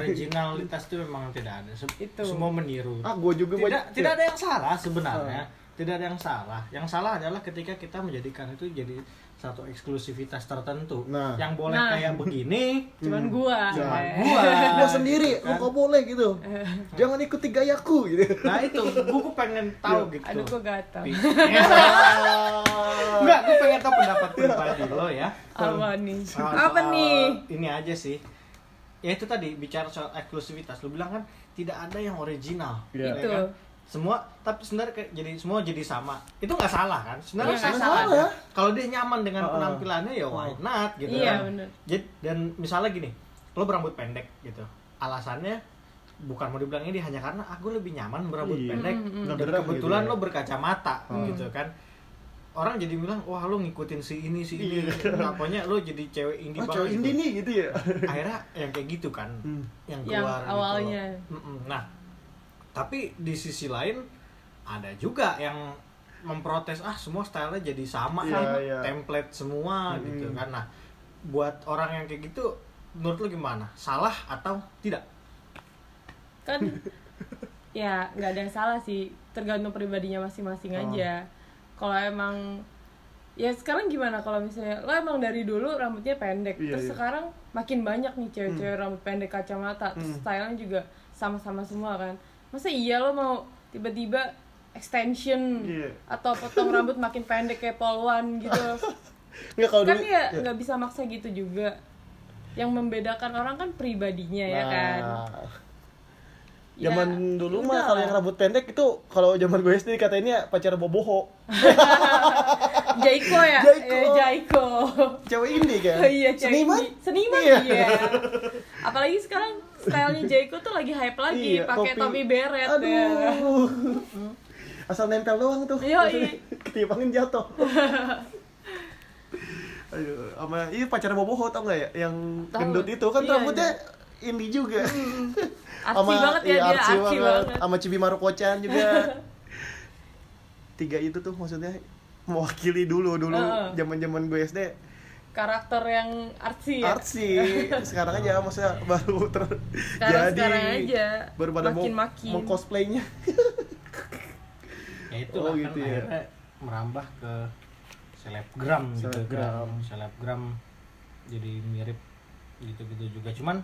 S3: originalitas itu memang tidak ada. Se-
S2: Itu.
S3: Semua meniru.
S1: ah gue juga
S3: tidak
S1: banyak-
S3: tidak
S1: ya.
S3: ada yang salah sebenarnya tidak ada yang salah yang salah adalah ketika kita menjadikan itu jadi satu eksklusivitas tertentu
S1: Nah.
S3: yang boleh
S2: Nah.
S3: kayak begini
S2: cuman gua
S3: cuma
S2: eh.
S3: gua
S1: Gua
S3: Gitu
S1: sendiri,
S3: kan.
S1: lu kok boleh gitu.
S2: Ah.
S1: Jangan ikuti gayaku gitu.
S3: nah itu gua pengen tahu gitu
S2: aduh gua gatal Ah.
S3: Enggak, gue pengen tahu pendapat pribadi lo ya.
S2: apa nih
S3: Soal-
S2: apa
S3: soal
S2: nih
S3: Ini aja sih. Ya itu tadi bicara soal eksklusivitas. Lo bilang kan tidak ada yang original. ya
S1: Iya.
S2: Itu.
S3: kan? Semua tapi sebenarnya kayak jadi semua jadi sama. Itu nggak salah kan? Sebenarnya
S2: Iya,
S3: nggak
S2: nggak
S3: salah.
S1: salah.
S3: Kalau dia nyaman dengan
S1: Heeh.
S3: penampilannya ya why
S1: Heeh.
S3: not gitu
S2: Iya,
S3: kan.
S2: bener.
S3: Jadi- dan misalnya gini, lo berambut pendek gitu. Alasannya bukan mau dibilang ini hanya karena aku lebih nyaman berambut
S1: Iya.
S3: pendek
S2: Mm,
S1: mm.
S3: dan
S1: Beneran gitu
S3: kebetulan
S1: ya.
S3: lo berkacamata
S1: Hmm.
S3: gitu kan orang jadi bilang wah lo ngikutin si ini si ini Nah, pokoknya lo jadi cewek indie
S1: Iya. Oh,
S3: banget
S1: cowok
S3: gitu.
S1: indie nih gitu ya.
S3: akhirnya yang kayak gitu kan
S1: Hmm.
S3: yang
S2: Yang
S3: keluar gitu
S2: awalnya.
S3: loh. Mm-mm. nah tapi di sisi lain ada juga yang memprotes ah semua stylenya jadi sama
S1: Iya,
S3: kan,
S1: iya. Hmm.
S3: template semua
S1: Mm-mm.
S3: gitu kan nah buat orang yang kayak gitu menurut lo gimana salah atau tidak
S2: kan ya nggak ada yang salah sih tergantung pribadinya
S1: Oh.
S2: masing-masing aja kalau emang ya sekarang gimana kalau misalnya lo emang dari dulu rambutnya pendek
S1: Iya,
S2: terus
S1: iya.
S2: sekarang makin banyak nih cewek-cewek rambut pendek kacamata terus
S1: Hmm.
S2: stylenya juga sama-sama semua kan masa iya lo mau tiba-tiba extension
S1: Iya.
S2: atau potong rambut makin pendek kayak polwan gitu
S1: Enggak kalau
S2: kan
S1: dulu. Nah.
S2: ya nggak bisa maksa gitu juga yang membedakan orang kan pribadinya ya kan
S1: Nah,
S2: Ya,
S1: Zaman dulu mah
S2: udah
S1: kalau
S2: lah.
S1: yang rambut pendek itu kalau zaman gue SD katanya pacar boboho.
S2: Jaiko ya?
S1: Jaiko.
S2: Ya, Jaiko.
S1: Cewek indie kan.
S2: Oh iya, cewek
S1: Seniman?
S2: ini. Seniman
S1: Iya.
S2: iya. Apalagi sekarang stylenya Jaiko tuh lagi hype lagi,
S1: Iya,
S2: pakai topi beret
S1: Aduh.
S2: ya.
S1: Asal nempel doang tuh.
S2: Iya, iya.
S1: Ketipangin jatuh. Aduh, sama iya pacar boboho tau nggak ya yang
S2: Tahu.
S1: gendut itu kan
S2: Iya, Hmm,
S1: rambutnya indie juga.
S2: Artsy banget ya
S1: iya,
S2: dia,
S1: artsy
S2: artsy banget.
S1: Sama Cibi Marukocan juga. Tiga itu tuh maksudnya mewakili dulu dulu
S2: Heeh.
S1: zaman-zaman gue SD
S2: Karakter yang artsy ya?
S1: artsy sekarang aja maksudnya baru ter
S2: Sekarang-
S1: jadi
S2: sekarang aja.
S1: baru pada mau
S2: Makin-makin.
S1: mau cosplaynya
S3: ya itu lah,
S1: Oh, gitu
S3: kan
S1: ya.
S3: akhirnya merambah ke selebgram gitu
S1: Selebgram.
S3: kan. selebgram jadi mirip gitu-gitu juga cuman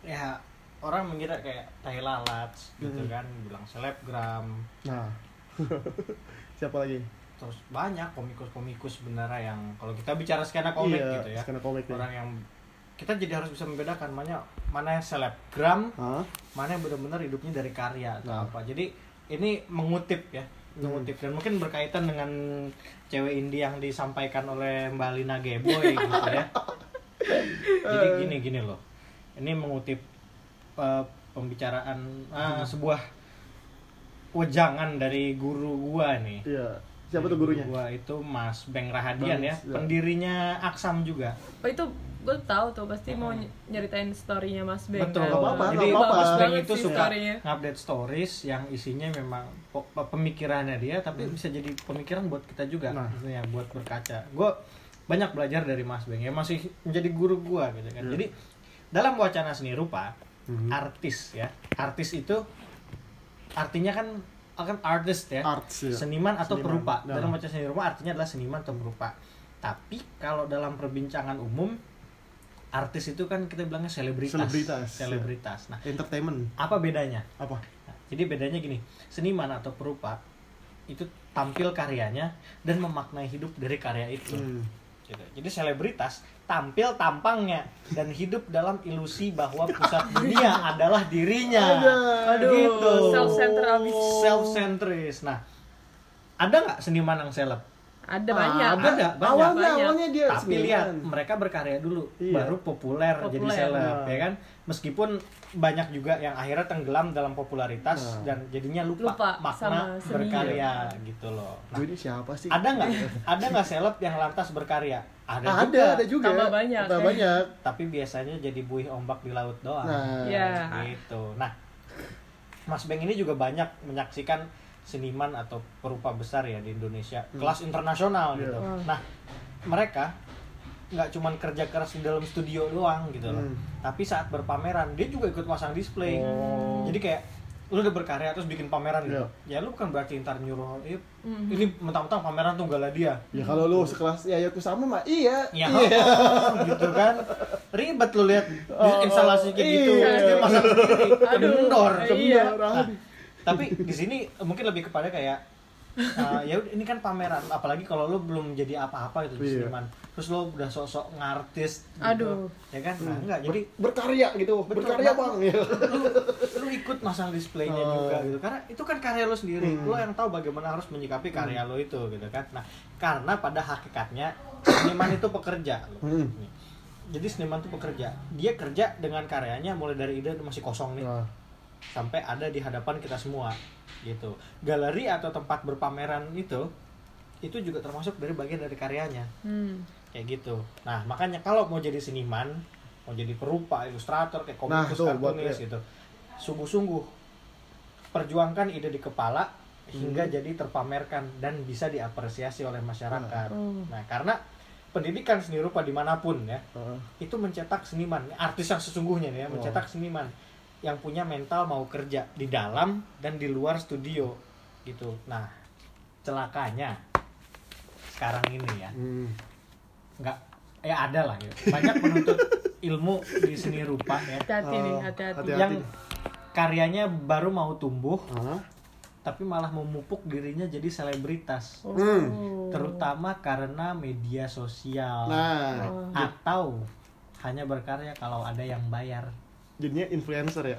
S3: ya orang mengira kayak tai lalat gitu
S1: Hmm.
S3: kan bilang selebgram
S1: nah siapa lagi
S3: terus banyak komikus-komikus sebenarnya yang kalau kita bicara skena komik
S1: iya,
S3: gitu ya
S1: skena komik nih.
S3: orang yang kita jadi harus bisa membedakan mana mana yang selebgram
S1: Hah?
S3: mana yang benar-benar hidupnya dari karya atau
S1: Nah. Hmm.
S3: apa jadi ini mengutip ya mengutip dan mungkin berkaitan dengan cewek indie yang disampaikan oleh Mbak Lina Geboy gitu ya jadi
S1: Eh.
S3: gini gini loh ini mengutip eh, pembicaraan ah,
S1: Hmm.
S3: sebuah wejangan dari guru gua nih
S1: iya siapa
S3: Dari
S1: tuh gurunya
S3: guru gua itu Mas Beng Rahadian
S1: Bang,
S3: ya
S1: ya.
S3: pendirinya Aksam juga
S2: Oh itu gue tahu tuh pasti mau ny- nyeritain story-nya Mas Ben.
S3: Betul.
S2: kan?
S1: Nggak apa-apa,
S3: Jadi
S1: nggak apa-apa.
S3: Mas
S2: Bagus
S3: Beng
S2: banget
S3: itu
S2: sih
S3: suka
S2: story-nya.
S3: update stories yang isinya memang po- pe- pemikirannya dia, tapi bisa jadi pemikiran buat kita juga,
S1: Hmm. Nah.
S3: maksudnya buat berkaca. Gue banyak belajar dari Mas Beng, ya masih menjadi guru gua gitu kan.
S1: Hmm.
S3: Jadi dalam wacana seni rupa,
S1: Hmm.
S3: artis ya, artis itu artinya kan akan artist ya,
S1: Arts, ya.
S3: seniman atau
S1: Seniman.
S3: perupa.
S1: Nah.
S3: Dalam wacana seni rupa artinya adalah seniman atau perupa. Tapi kalau dalam perbincangan umum artis itu kan kita bilangnya selebritas.
S1: Selebritas, ya.
S3: Selebritas. Nah,
S1: entertainment
S3: apa bedanya?
S1: apa
S3: Nah, jadi bedanya gini, seniman atau perupa itu tampil karyanya dan memaknai hidup dari karya itu.
S1: Hmm.
S3: Gitu. Jadi selebritas tampil tampangnya dan hidup dalam ilusi bahwa pusat dunia adalah dirinya.
S2: Aduh,
S3: Gitu.
S2: self-center abis.
S3: Self-centris. Nah, ada nggak seniman yang seleb?
S2: Ada banyak.
S3: Ada, banyak.
S1: Ah, awalnya
S2: Banyak.
S1: awalnya dia
S3: tapi
S1: Iya, seniman.
S3: lihat mereka berkarya dulu
S1: Iya.
S3: baru populer, jadi
S2: Populer. iya.
S3: seleb
S1: Nah.
S3: ya kan meskipun banyak juga yang akhirnya tenggelam dalam popularitas
S1: Nah.
S3: dan jadinya lupa,
S2: Lupa sama
S3: makna
S2: seninya.
S3: berkarya
S1: Iya.
S3: gitu loh Nah,
S1: gue ini siapa sih Ah,
S3: ada nggak ada nggak seleb yang lantas berkarya ada,
S1: ada
S3: juga.
S1: ada, juga
S2: Tambah banyak,
S1: tambah
S2: ya.
S1: banyak
S3: tapi biasanya jadi buih ombak di laut doang
S1: nah
S2: Iya.
S3: gitu nah Mas Beng ini juga banyak menyaksikan seniman atau perupa besar ya di Indonesia kelas internasional gitu
S1: Hmm. Iya.
S3: nah mereka nggak cuman kerja keras di dalam studio doang gitu loh
S1: Hmm.
S3: tapi saat berpameran dia juga ikut pasang display
S1: Oh. Iya.
S3: jadi kayak lu udah berkarya terus bikin pameran gitu. ya lu bukan berarti ntar nyuruh "Ih, ini mentang-mentang pameran tuh gak dia
S1: ya kalau lu sekelas ya aku sama mah iya
S3: Ya, gitu kan. Ribet lu lihat instalasi kayak gitu.
S1: Iya.
S3: Terus dia masak sendiri.
S2: Oh, Aduh,
S3: Kendor.
S2: Iya.
S1: Bener,
S3: Nah,
S1: Abi.
S3: tapi di sini mungkin lebih kepada kayak eh, ya udah, ini kan pameran apalagi kalau lu belum jadi apa-apa gitu
S1: Iya.
S3: di seniman terus lu udah sok-sok ngartis gitu,
S2: Aduh.
S3: ya kan nah, enggak jadi
S1: Hmm. berkarya gitu
S3: Betul,
S1: berkarya
S3: Bang.
S1: bang ya
S3: lu, lu ikut masang displaynya
S1: Oh.
S3: juga gitu karena itu kan karya lo sendiri
S1: Hmm.
S3: lo yang tahu bagaimana harus menyikapi karya lo itu gitu kan nah karena pada hakikatnya seniman itu pekerja lo.
S1: Hmm.
S3: jadi seniman itu pekerja dia kerja dengan karyanya mulai dari ide masih kosong nih
S1: Nah,
S3: sampai ada di hadapan kita semua gitu galeri atau tempat berpameran itu itu juga termasuk dari bagian dari karyanya
S2: Hmm.
S3: kayak gitu nah makanya kalau mau jadi seniman mau jadi perupa ilustrator kayak
S1: Nah,
S3: komikus
S1: tuh, buat
S3: kartunis
S1: dia.
S3: gitu sungguh-sungguh perjuangkan ide di kepala hingga
S1: Hmm.
S3: jadi terpamerkan dan bisa diapresiasi oleh masyarakat
S2: Oh.
S3: nah karena pendidikan seni rupa dimanapun ya
S1: ah,
S3: itu mencetak seniman artis yang sesungguhnya nih ya
S1: Oh.
S3: mencetak seniman yang punya mental mau kerja di dalam dan di luar studio gitu nah celakanya sekarang ini ya
S1: hmm.
S3: nggak ya ada lah gitu. banyak menuntut ilmu di seni rupa ya
S2: Hati-hati nih,
S1: Oh,
S2: hati-hati.
S1: hati-hati.
S3: yang karyanya baru mau tumbuh
S1: Ah.
S3: tapi malah memupuk dirinya jadi selebritas
S2: Oh.
S1: Hmm.
S3: terutama karena media sosial
S1: nah
S2: Oh.
S3: atau hanya berkarya kalau ada yang bayar
S1: jadinya influencer ya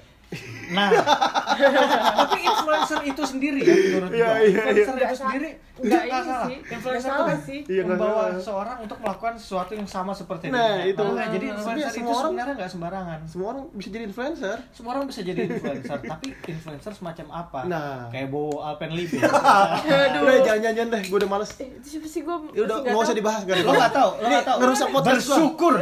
S3: Nah, tapi influencer itu sendiri ya menurut
S1: Iya,
S3: gua.
S1: iya,
S3: Influencer
S1: iya.
S2: Nggak
S3: itu
S2: sa-
S3: sendiri nggak
S2: nggak ini
S3: salah.
S2: sih,
S3: Influencer
S2: nggak
S3: itu
S2: salah
S3: kan
S2: sih.
S1: Iya, nggak
S3: membawa
S1: salah.
S3: seorang untuk melakukan sesuatu yang sama seperti
S1: Nah,
S3: dirinya.
S1: itu.
S3: Nah, jadi
S2: Nah,
S3: influencer
S1: semua
S3: itu
S1: orang-
S3: sebenarnya nggak sembarangan.
S1: Semua orang bisa jadi influencer.
S3: Semua orang bisa jadi influencer, tapi influencer semacam apa?
S1: Nah.
S3: Kayak Bowo Alpenlibe.
S2: Aduh.
S1: Udah jangan-jangan deh, gue udah males.
S2: Eh, itu siapa sih gue?
S1: Ya udah nggak usah dibahas, gak ada
S3: lo nggak tahu, lo nggak tahu.
S1: ngerusak podcast gua.
S3: Bersyukur.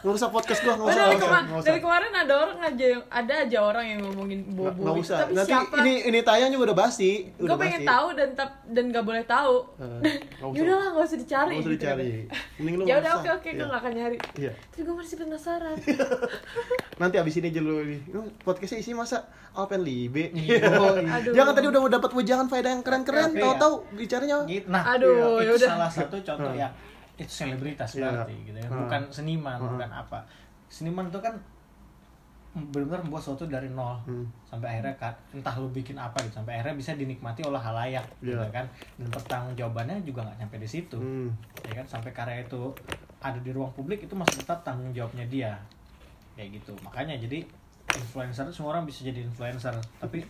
S1: Ngerusak podcast gue, nggak usah,
S2: dari,
S1: nggak usah,
S2: kema-
S1: nggak usah.
S2: dari kemarin ada orang aja yang ada aja orang yang ngomongin
S1: Nggak-
S2: bobo.
S1: nggak usah.
S2: Tapi
S1: Nanti
S2: siapa?
S1: ini ini tayangnya udah basi,
S2: gue
S1: udah
S2: pengen
S1: basi.
S2: tahu dan tap dan gak boleh tahu.
S1: Eh, nggak usah.
S2: Ya udahlah nggak usah dicari.
S1: Nggak usah
S2: gitu kan.
S1: dicari. Mending lu
S2: Ya udah
S1: nggak
S2: oke
S1: usah.
S2: oke
S1: Iya.
S2: gue gak akan nyari.
S1: Iya.
S2: Tapi gue masih penasaran.
S1: Nanti abis ini aja lu ini. Lu Podcastnya isi masa Alpen Libe.
S3: Iya.
S1: Iya.
S2: Aduh.
S1: Jangan tadi udah dapat wejangan faedah yang
S3: Oke,
S1: keren-keren,
S3: oke,
S1: tahu-tahu bicaranya
S3: Iya, Gitu. Nah,
S2: Aduh,
S3: itu
S2: yaudah.
S3: salah satu contoh ya.
S1: Nah.
S3: Itu selebritas
S1: Iya.
S3: berarti gitu ya.
S1: Nah.
S3: Bukan seniman,
S1: Nah.
S3: bukan apa. Seniman itu kan benar-benar membuat sesuatu dari nol
S1: Hmm.
S3: sampai akhirnya kan entah lu bikin apa gitu sampai akhirnya bisa dinikmati oleh halayak gitu
S1: Iya.
S3: kan dan pertanggungjawabannya juga nggak nyampe di situ
S1: Hmm.
S3: ya kan sampai karya itu ada di ruang publik itu masih tetap tanggung jawabnya dia kayak gitu makanya jadi influencer semua orang bisa jadi influencer tapi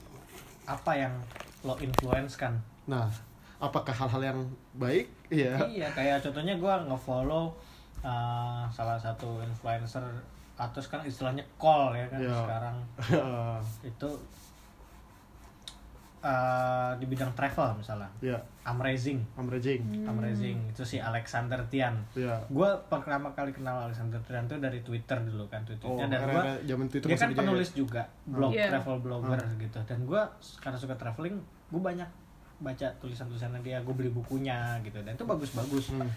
S3: apa yang lo influence kan
S1: Nah, apakah hal-hal yang baik? Iya.
S3: iya kayak contohnya gue ngefollow uh, salah satu influencer atau sekarang istilahnya call ya kan
S1: Iya.
S3: sekarang
S2: Iya.
S3: itu uh, di bidang travel misalnya
S1: Iya,
S3: amazing
S1: amrejing.
S2: Hmm.
S3: amazing itu si Alexander Tian
S1: Iya.
S3: gue pertama kali kenal Alexander Tian tuh dari Twitter dulu kan tweetnya dan
S1: era-
S3: gue
S1: era Oh, zaman Twitter
S3: dia
S1: masih ya?
S3: kan
S1: Hmm. dijahit.
S3: penulis juga blog
S2: Iya.
S3: travel blogger gitu dan gue karena suka traveling gue banyak baca tulisan-tulisannya dia gue beli bukunya gitu dan itu bagus-bagus
S1: Hmm.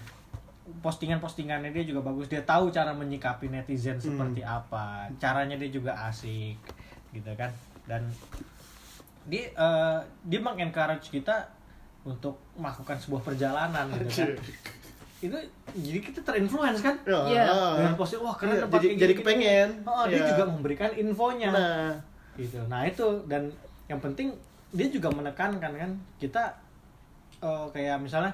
S3: postingan-postingannya dia juga bagus dia tahu cara menyikapi netizen
S1: Hmm.
S3: seperti apa caranya dia juga asik gitu kan dan dia eh, dia mengencourage kita untuk melakukan sebuah perjalanan gitu kan itu jadi kita terinfluence kan
S1: Iya.
S2: Iya.
S3: dengan posting wah keren
S1: Iya,
S3: tempat
S1: jadi-
S3: kayak
S1: jadi
S3: gini-gini."
S1: kepengen.
S3: oh, dia
S1: Iya.
S3: juga memberikan infonya
S1: Nah,
S3: gitu nah itu dan yang penting dia juga menekankan kan kita eh, kayak misalnya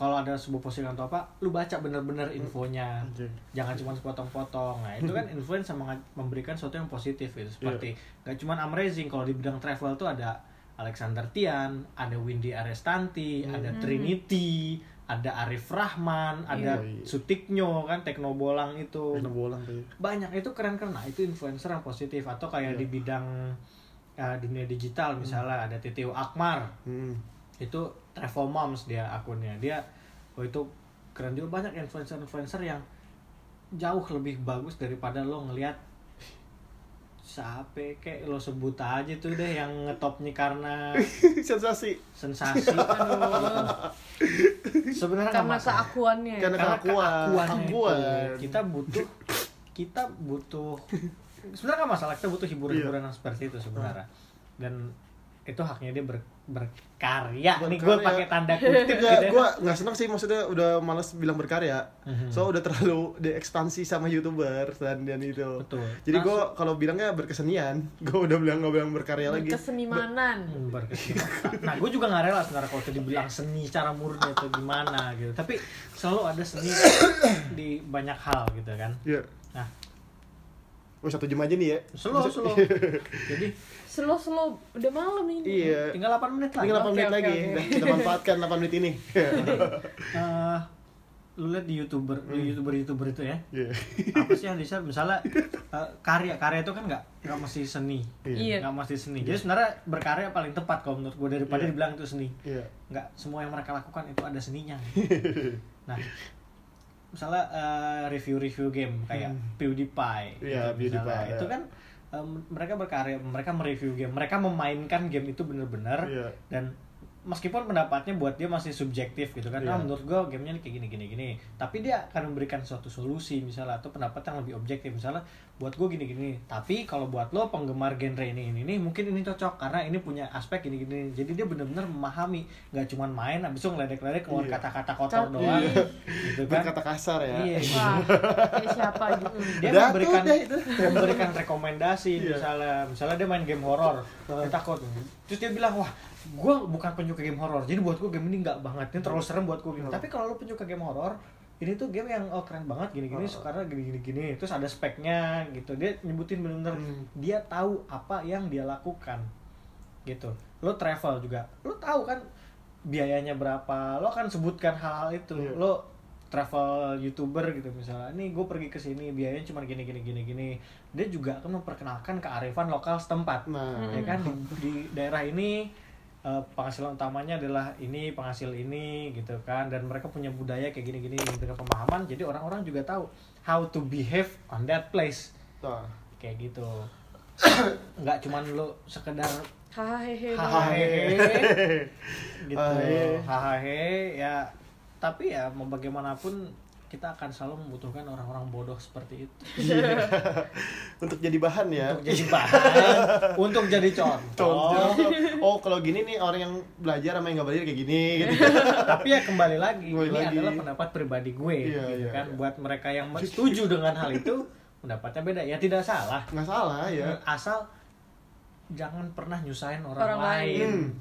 S3: kalau ada sebuah postingan atau apa lu baca bener-bener infonya
S1: Oke.
S3: jangan cuma sepotong-potong nah itu kan influence sama memberikan sesuatu yang positif gitu seperti nggak cuma amazing kalau di bidang travel tuh ada Alexander Tian ada Windy Arestanti ada Trinity ada Arif Rahman ada
S1: Iya.
S3: Sutiknyo kan Teknobolang itu
S1: enak bolang tuh.
S3: banyak itu keren keren nah itu influencer yang positif atau kayak
S1: Iya.
S3: di bidang uh, dunia digital misalnya ada TTO Akmar
S1: Hmm.
S3: itu travel moms dia akunnya dia oh itu keren juga banyak influencer influencer yang jauh lebih bagus daripada lo ngelihat siapa kayak lo sebut aja tuh deh yang ngetopnya karena
S1: Sensasi
S3: sensasi Aduh. sebenarnya nggak
S2: Karena
S3: masalah
S2: keakuannya.
S1: karena
S3: karena keakuan
S1: keakuan.
S3: kita butuh kita butuh sebenarnya nggak masalah kita butuh
S1: Iya.
S3: hiburan-hiburan yang seperti itu
S1: Ah.
S3: sebenarnya dan itu haknya dia ber- berkarya nih gue
S1: Berkarya.
S3: pakai tanda kutip gitu
S1: Enggak,
S3: ya.
S1: gue nggak seneng sih maksudnya udah malas bilang berkarya,
S3: Mhm.
S1: so udah terlalu diekspansi sama youtuber dan dan itu.
S3: Betul.
S1: Jadi
S3: Nah,
S1: gue kalau bilangnya berkesenian, gue udah bilang nggak bilang berkarya lagi.
S2: Kesenimanan.
S3: Hmm, berkesinambungan. nah gue juga nggak rela sebenarnya kalau itu dibilang seni cara murni atau gimana gitu tapi selalu ada seni di banyak hal gitu kan
S1: Iya.
S3: nah
S1: Oh satu jam aja nih ya.
S3: slow slow jadi
S2: Slow slow udah malam ini.
S1: Iya.
S3: tinggal 8 menit lagi
S1: Tinggal 8
S2: Oke,
S1: menit
S2: oke,
S1: lagi.
S2: oke.
S1: Dah, kita manfaatkan 8 menit ini.
S3: Eh, lu lihat di youtuber
S1: Hmm.
S3: youtuber youtuber itu ya
S1: Iya.
S3: apa sih yang di-share? misalnya eh, karya karya itu kan nggak nggak mesti seni
S2: Iya.
S3: nggak mesti seni jadi sebenarnya berkarya paling tepat kalau menurut gue daripada
S1: Iya.
S3: dibilang itu seni
S1: Iya.
S3: nggak semua yang mereka lakukan itu ada seninya nah misalnya eh, review-review game kayak PewDiePie
S1: Hmm. Iya,
S3: gitu misalnya.
S1: PewDiePie,
S3: itu
S1: ya.
S3: kan eh, mereka berkarya mereka mereview game mereka memainkan game itu bener-bener
S1: Iya.
S3: dan meskipun pendapatnya buat dia masih subjektif gitu kan "Ah,
S1: Iya.
S3: menurut gua gamenya nih kayak gini gini gini tapi dia akan memberikan suatu solusi misalnya atau pendapat yang lebih objektif misalnya buat gua gini gini tapi kalau buat lo penggemar genre ini ini ini mungkin ini cocok karena ini punya aspek gini gini jadi dia bener-bener memahami nggak cuman main abis itu ngeledek-ledek keluar
S1: Iya.
S3: kata-kata kotor
S2: Tapi-
S3: doang
S1: Iya.
S3: gitu kan
S1: Berkata kasar ya.
S3: iya
S2: Wah, kayak siapa gitu.
S3: dia
S1: Udah
S3: memberikan
S1: tuh, udah itu.
S3: memberikan rekomendasi
S1: Iya.
S3: misalnya misalnya dia main game horor dia takut terus dia bilang wah gitu." gue bukan penyuka game horor jadi buat gue game ini nggak banget ini terlalu serem buat gue tapi kalau lo penyuka game horor ini tuh game yang oh keren banget gini-gini
S1: Oh.
S3: karena gini-gini gini terus ada speknya gitu dia nyebutin bener-bener
S1: Hmm.
S3: dia tahu apa yang dia lakukan gitu lo travel juga lo tahu kan biayanya berapa lo kan sebutkan hal-hal itu
S1: Iya.
S3: lo travel youtuber gitu misalnya nih gue pergi ke sini biayanya cuma gini gini gini gini dia juga akan memperkenalkan kearifan lokal setempat
S1: Nah,
S3: ya kan di, di daerah ini eh, penghasilan utamanya adalah ini penghasil ini gitu kan dan mereka punya budaya kayak gini-gini dengan pemahaman jadi orang-orang juga tahu how to behave on that place
S1: nah.
S3: kayak gitu nggak cuman lo sekedar
S2: hahaha hehe
S3: hahaha gitu
S1: Hahaha.
S3: hahaha ya tapi ya mau bagaimanapun kita akan selalu membutuhkan orang-orang bodoh seperti itu
S1: Untuk jadi bahan ya.
S3: untuk jadi bahan untuk jadi
S1: Contoh.
S3: contoh
S1: Oh, kalau gini nih orang yang belajar sama yang nggak belajar kayak gini gitu.
S3: tapi ya kembali lagi
S1: Kembali
S3: ini
S1: lagi.
S3: adalah pendapat pribadi gue
S1: Iya,
S3: gitu
S1: iya,
S3: kan
S1: iya.
S3: buat mereka yang setuju dengan hal itu pendapatnya beda ya tidak salah
S1: Nggak salah ya.
S3: asal jangan pernah nyusahin orang,
S2: Orang
S3: lain,
S2: lain.
S1: Hmm.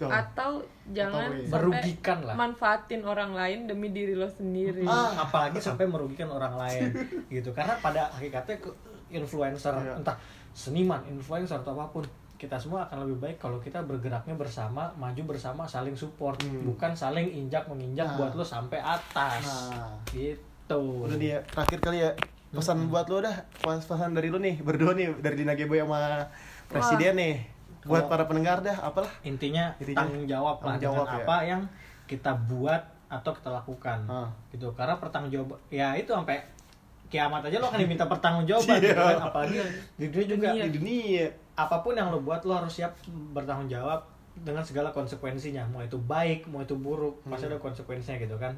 S1: Tuh.
S2: atau jangan
S1: Atau, iya.
S2: sampai
S3: merugikan lah Oh.
S2: manfaatin orang lain demi diri lo sendiri
S1: Ah.
S3: apalagi sampai merugikan orang lain gitu karena pada hakikatnya ke- influencer
S1: Iya.
S3: entah seniman influencer atau apapun kita semua akan lebih baik kalau kita bergeraknya bersama maju bersama saling support
S1: Hmm.
S3: bukan saling injak menginjak
S1: Nah.
S3: buat lo sampai atas
S1: Nah.
S3: gitu
S1: Udah nih ya, terakhir kali ya pesan
S3: Hmm.
S1: buat lo dah Pas- pesan dari lo nih berdua nih dari Dina Gebo sama Presiden nih buat
S3: Kalau-
S1: para pendengar dah apalah
S3: intinya,
S1: Intinya,
S3: tanggung jawab lah
S1: tanggung jawab
S3: dengan
S1: ya.
S3: apa yang kita buat atau kita lakukan
S1: Ah.
S3: gitu karena pertanggung jawab ya itu sampai kiamat aja lo akan diminta pertanggung jawaban gitu kan.
S1: Iya.
S3: apalagi di dunia juga
S1: di dunia
S3: apapun yang lo buat lo harus siap bertanggung jawab dengan segala konsekuensinya mau itu baik mau itu buruk pasti
S1: Hmm.
S3: ada konsekuensinya gitu kan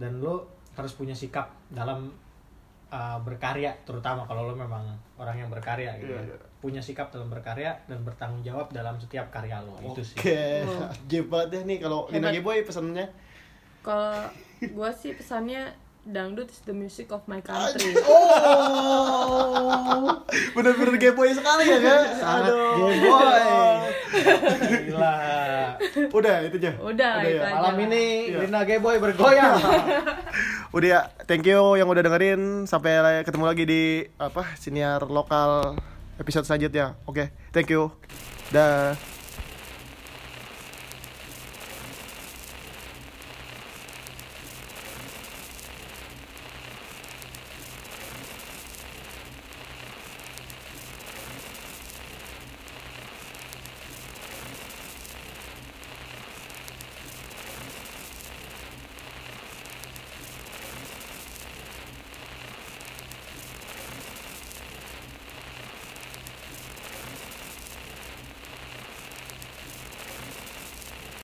S3: dan lo harus punya sikap dalam uh, berkarya terutama kalau lo memang orang yang berkarya gitu
S1: Iya,
S3: ya.
S1: iya.
S3: punya sikap dalam berkarya dan bertanggung jawab dalam setiap karya lo itu sih
S1: oke Ajib banget deh nih kalau Dina
S2: Hebat.
S1: Gebo ya pesannya
S2: kalau gue sih pesannya dangdut is the music of my country
S1: oh bener-bener Gebo sekali ya kan
S3: Sangat
S1: aduh
S3: geboy. Gila.
S1: udah itu aja
S2: Udah, itu
S1: ya
S2: aja.
S3: Malam ini
S1: Iya.
S3: Lina Geboy bergoyang.
S1: udah ya thank you yang udah dengerin sampai ketemu lagi di apa siniar lokal episode selanjutnya oke thank you dah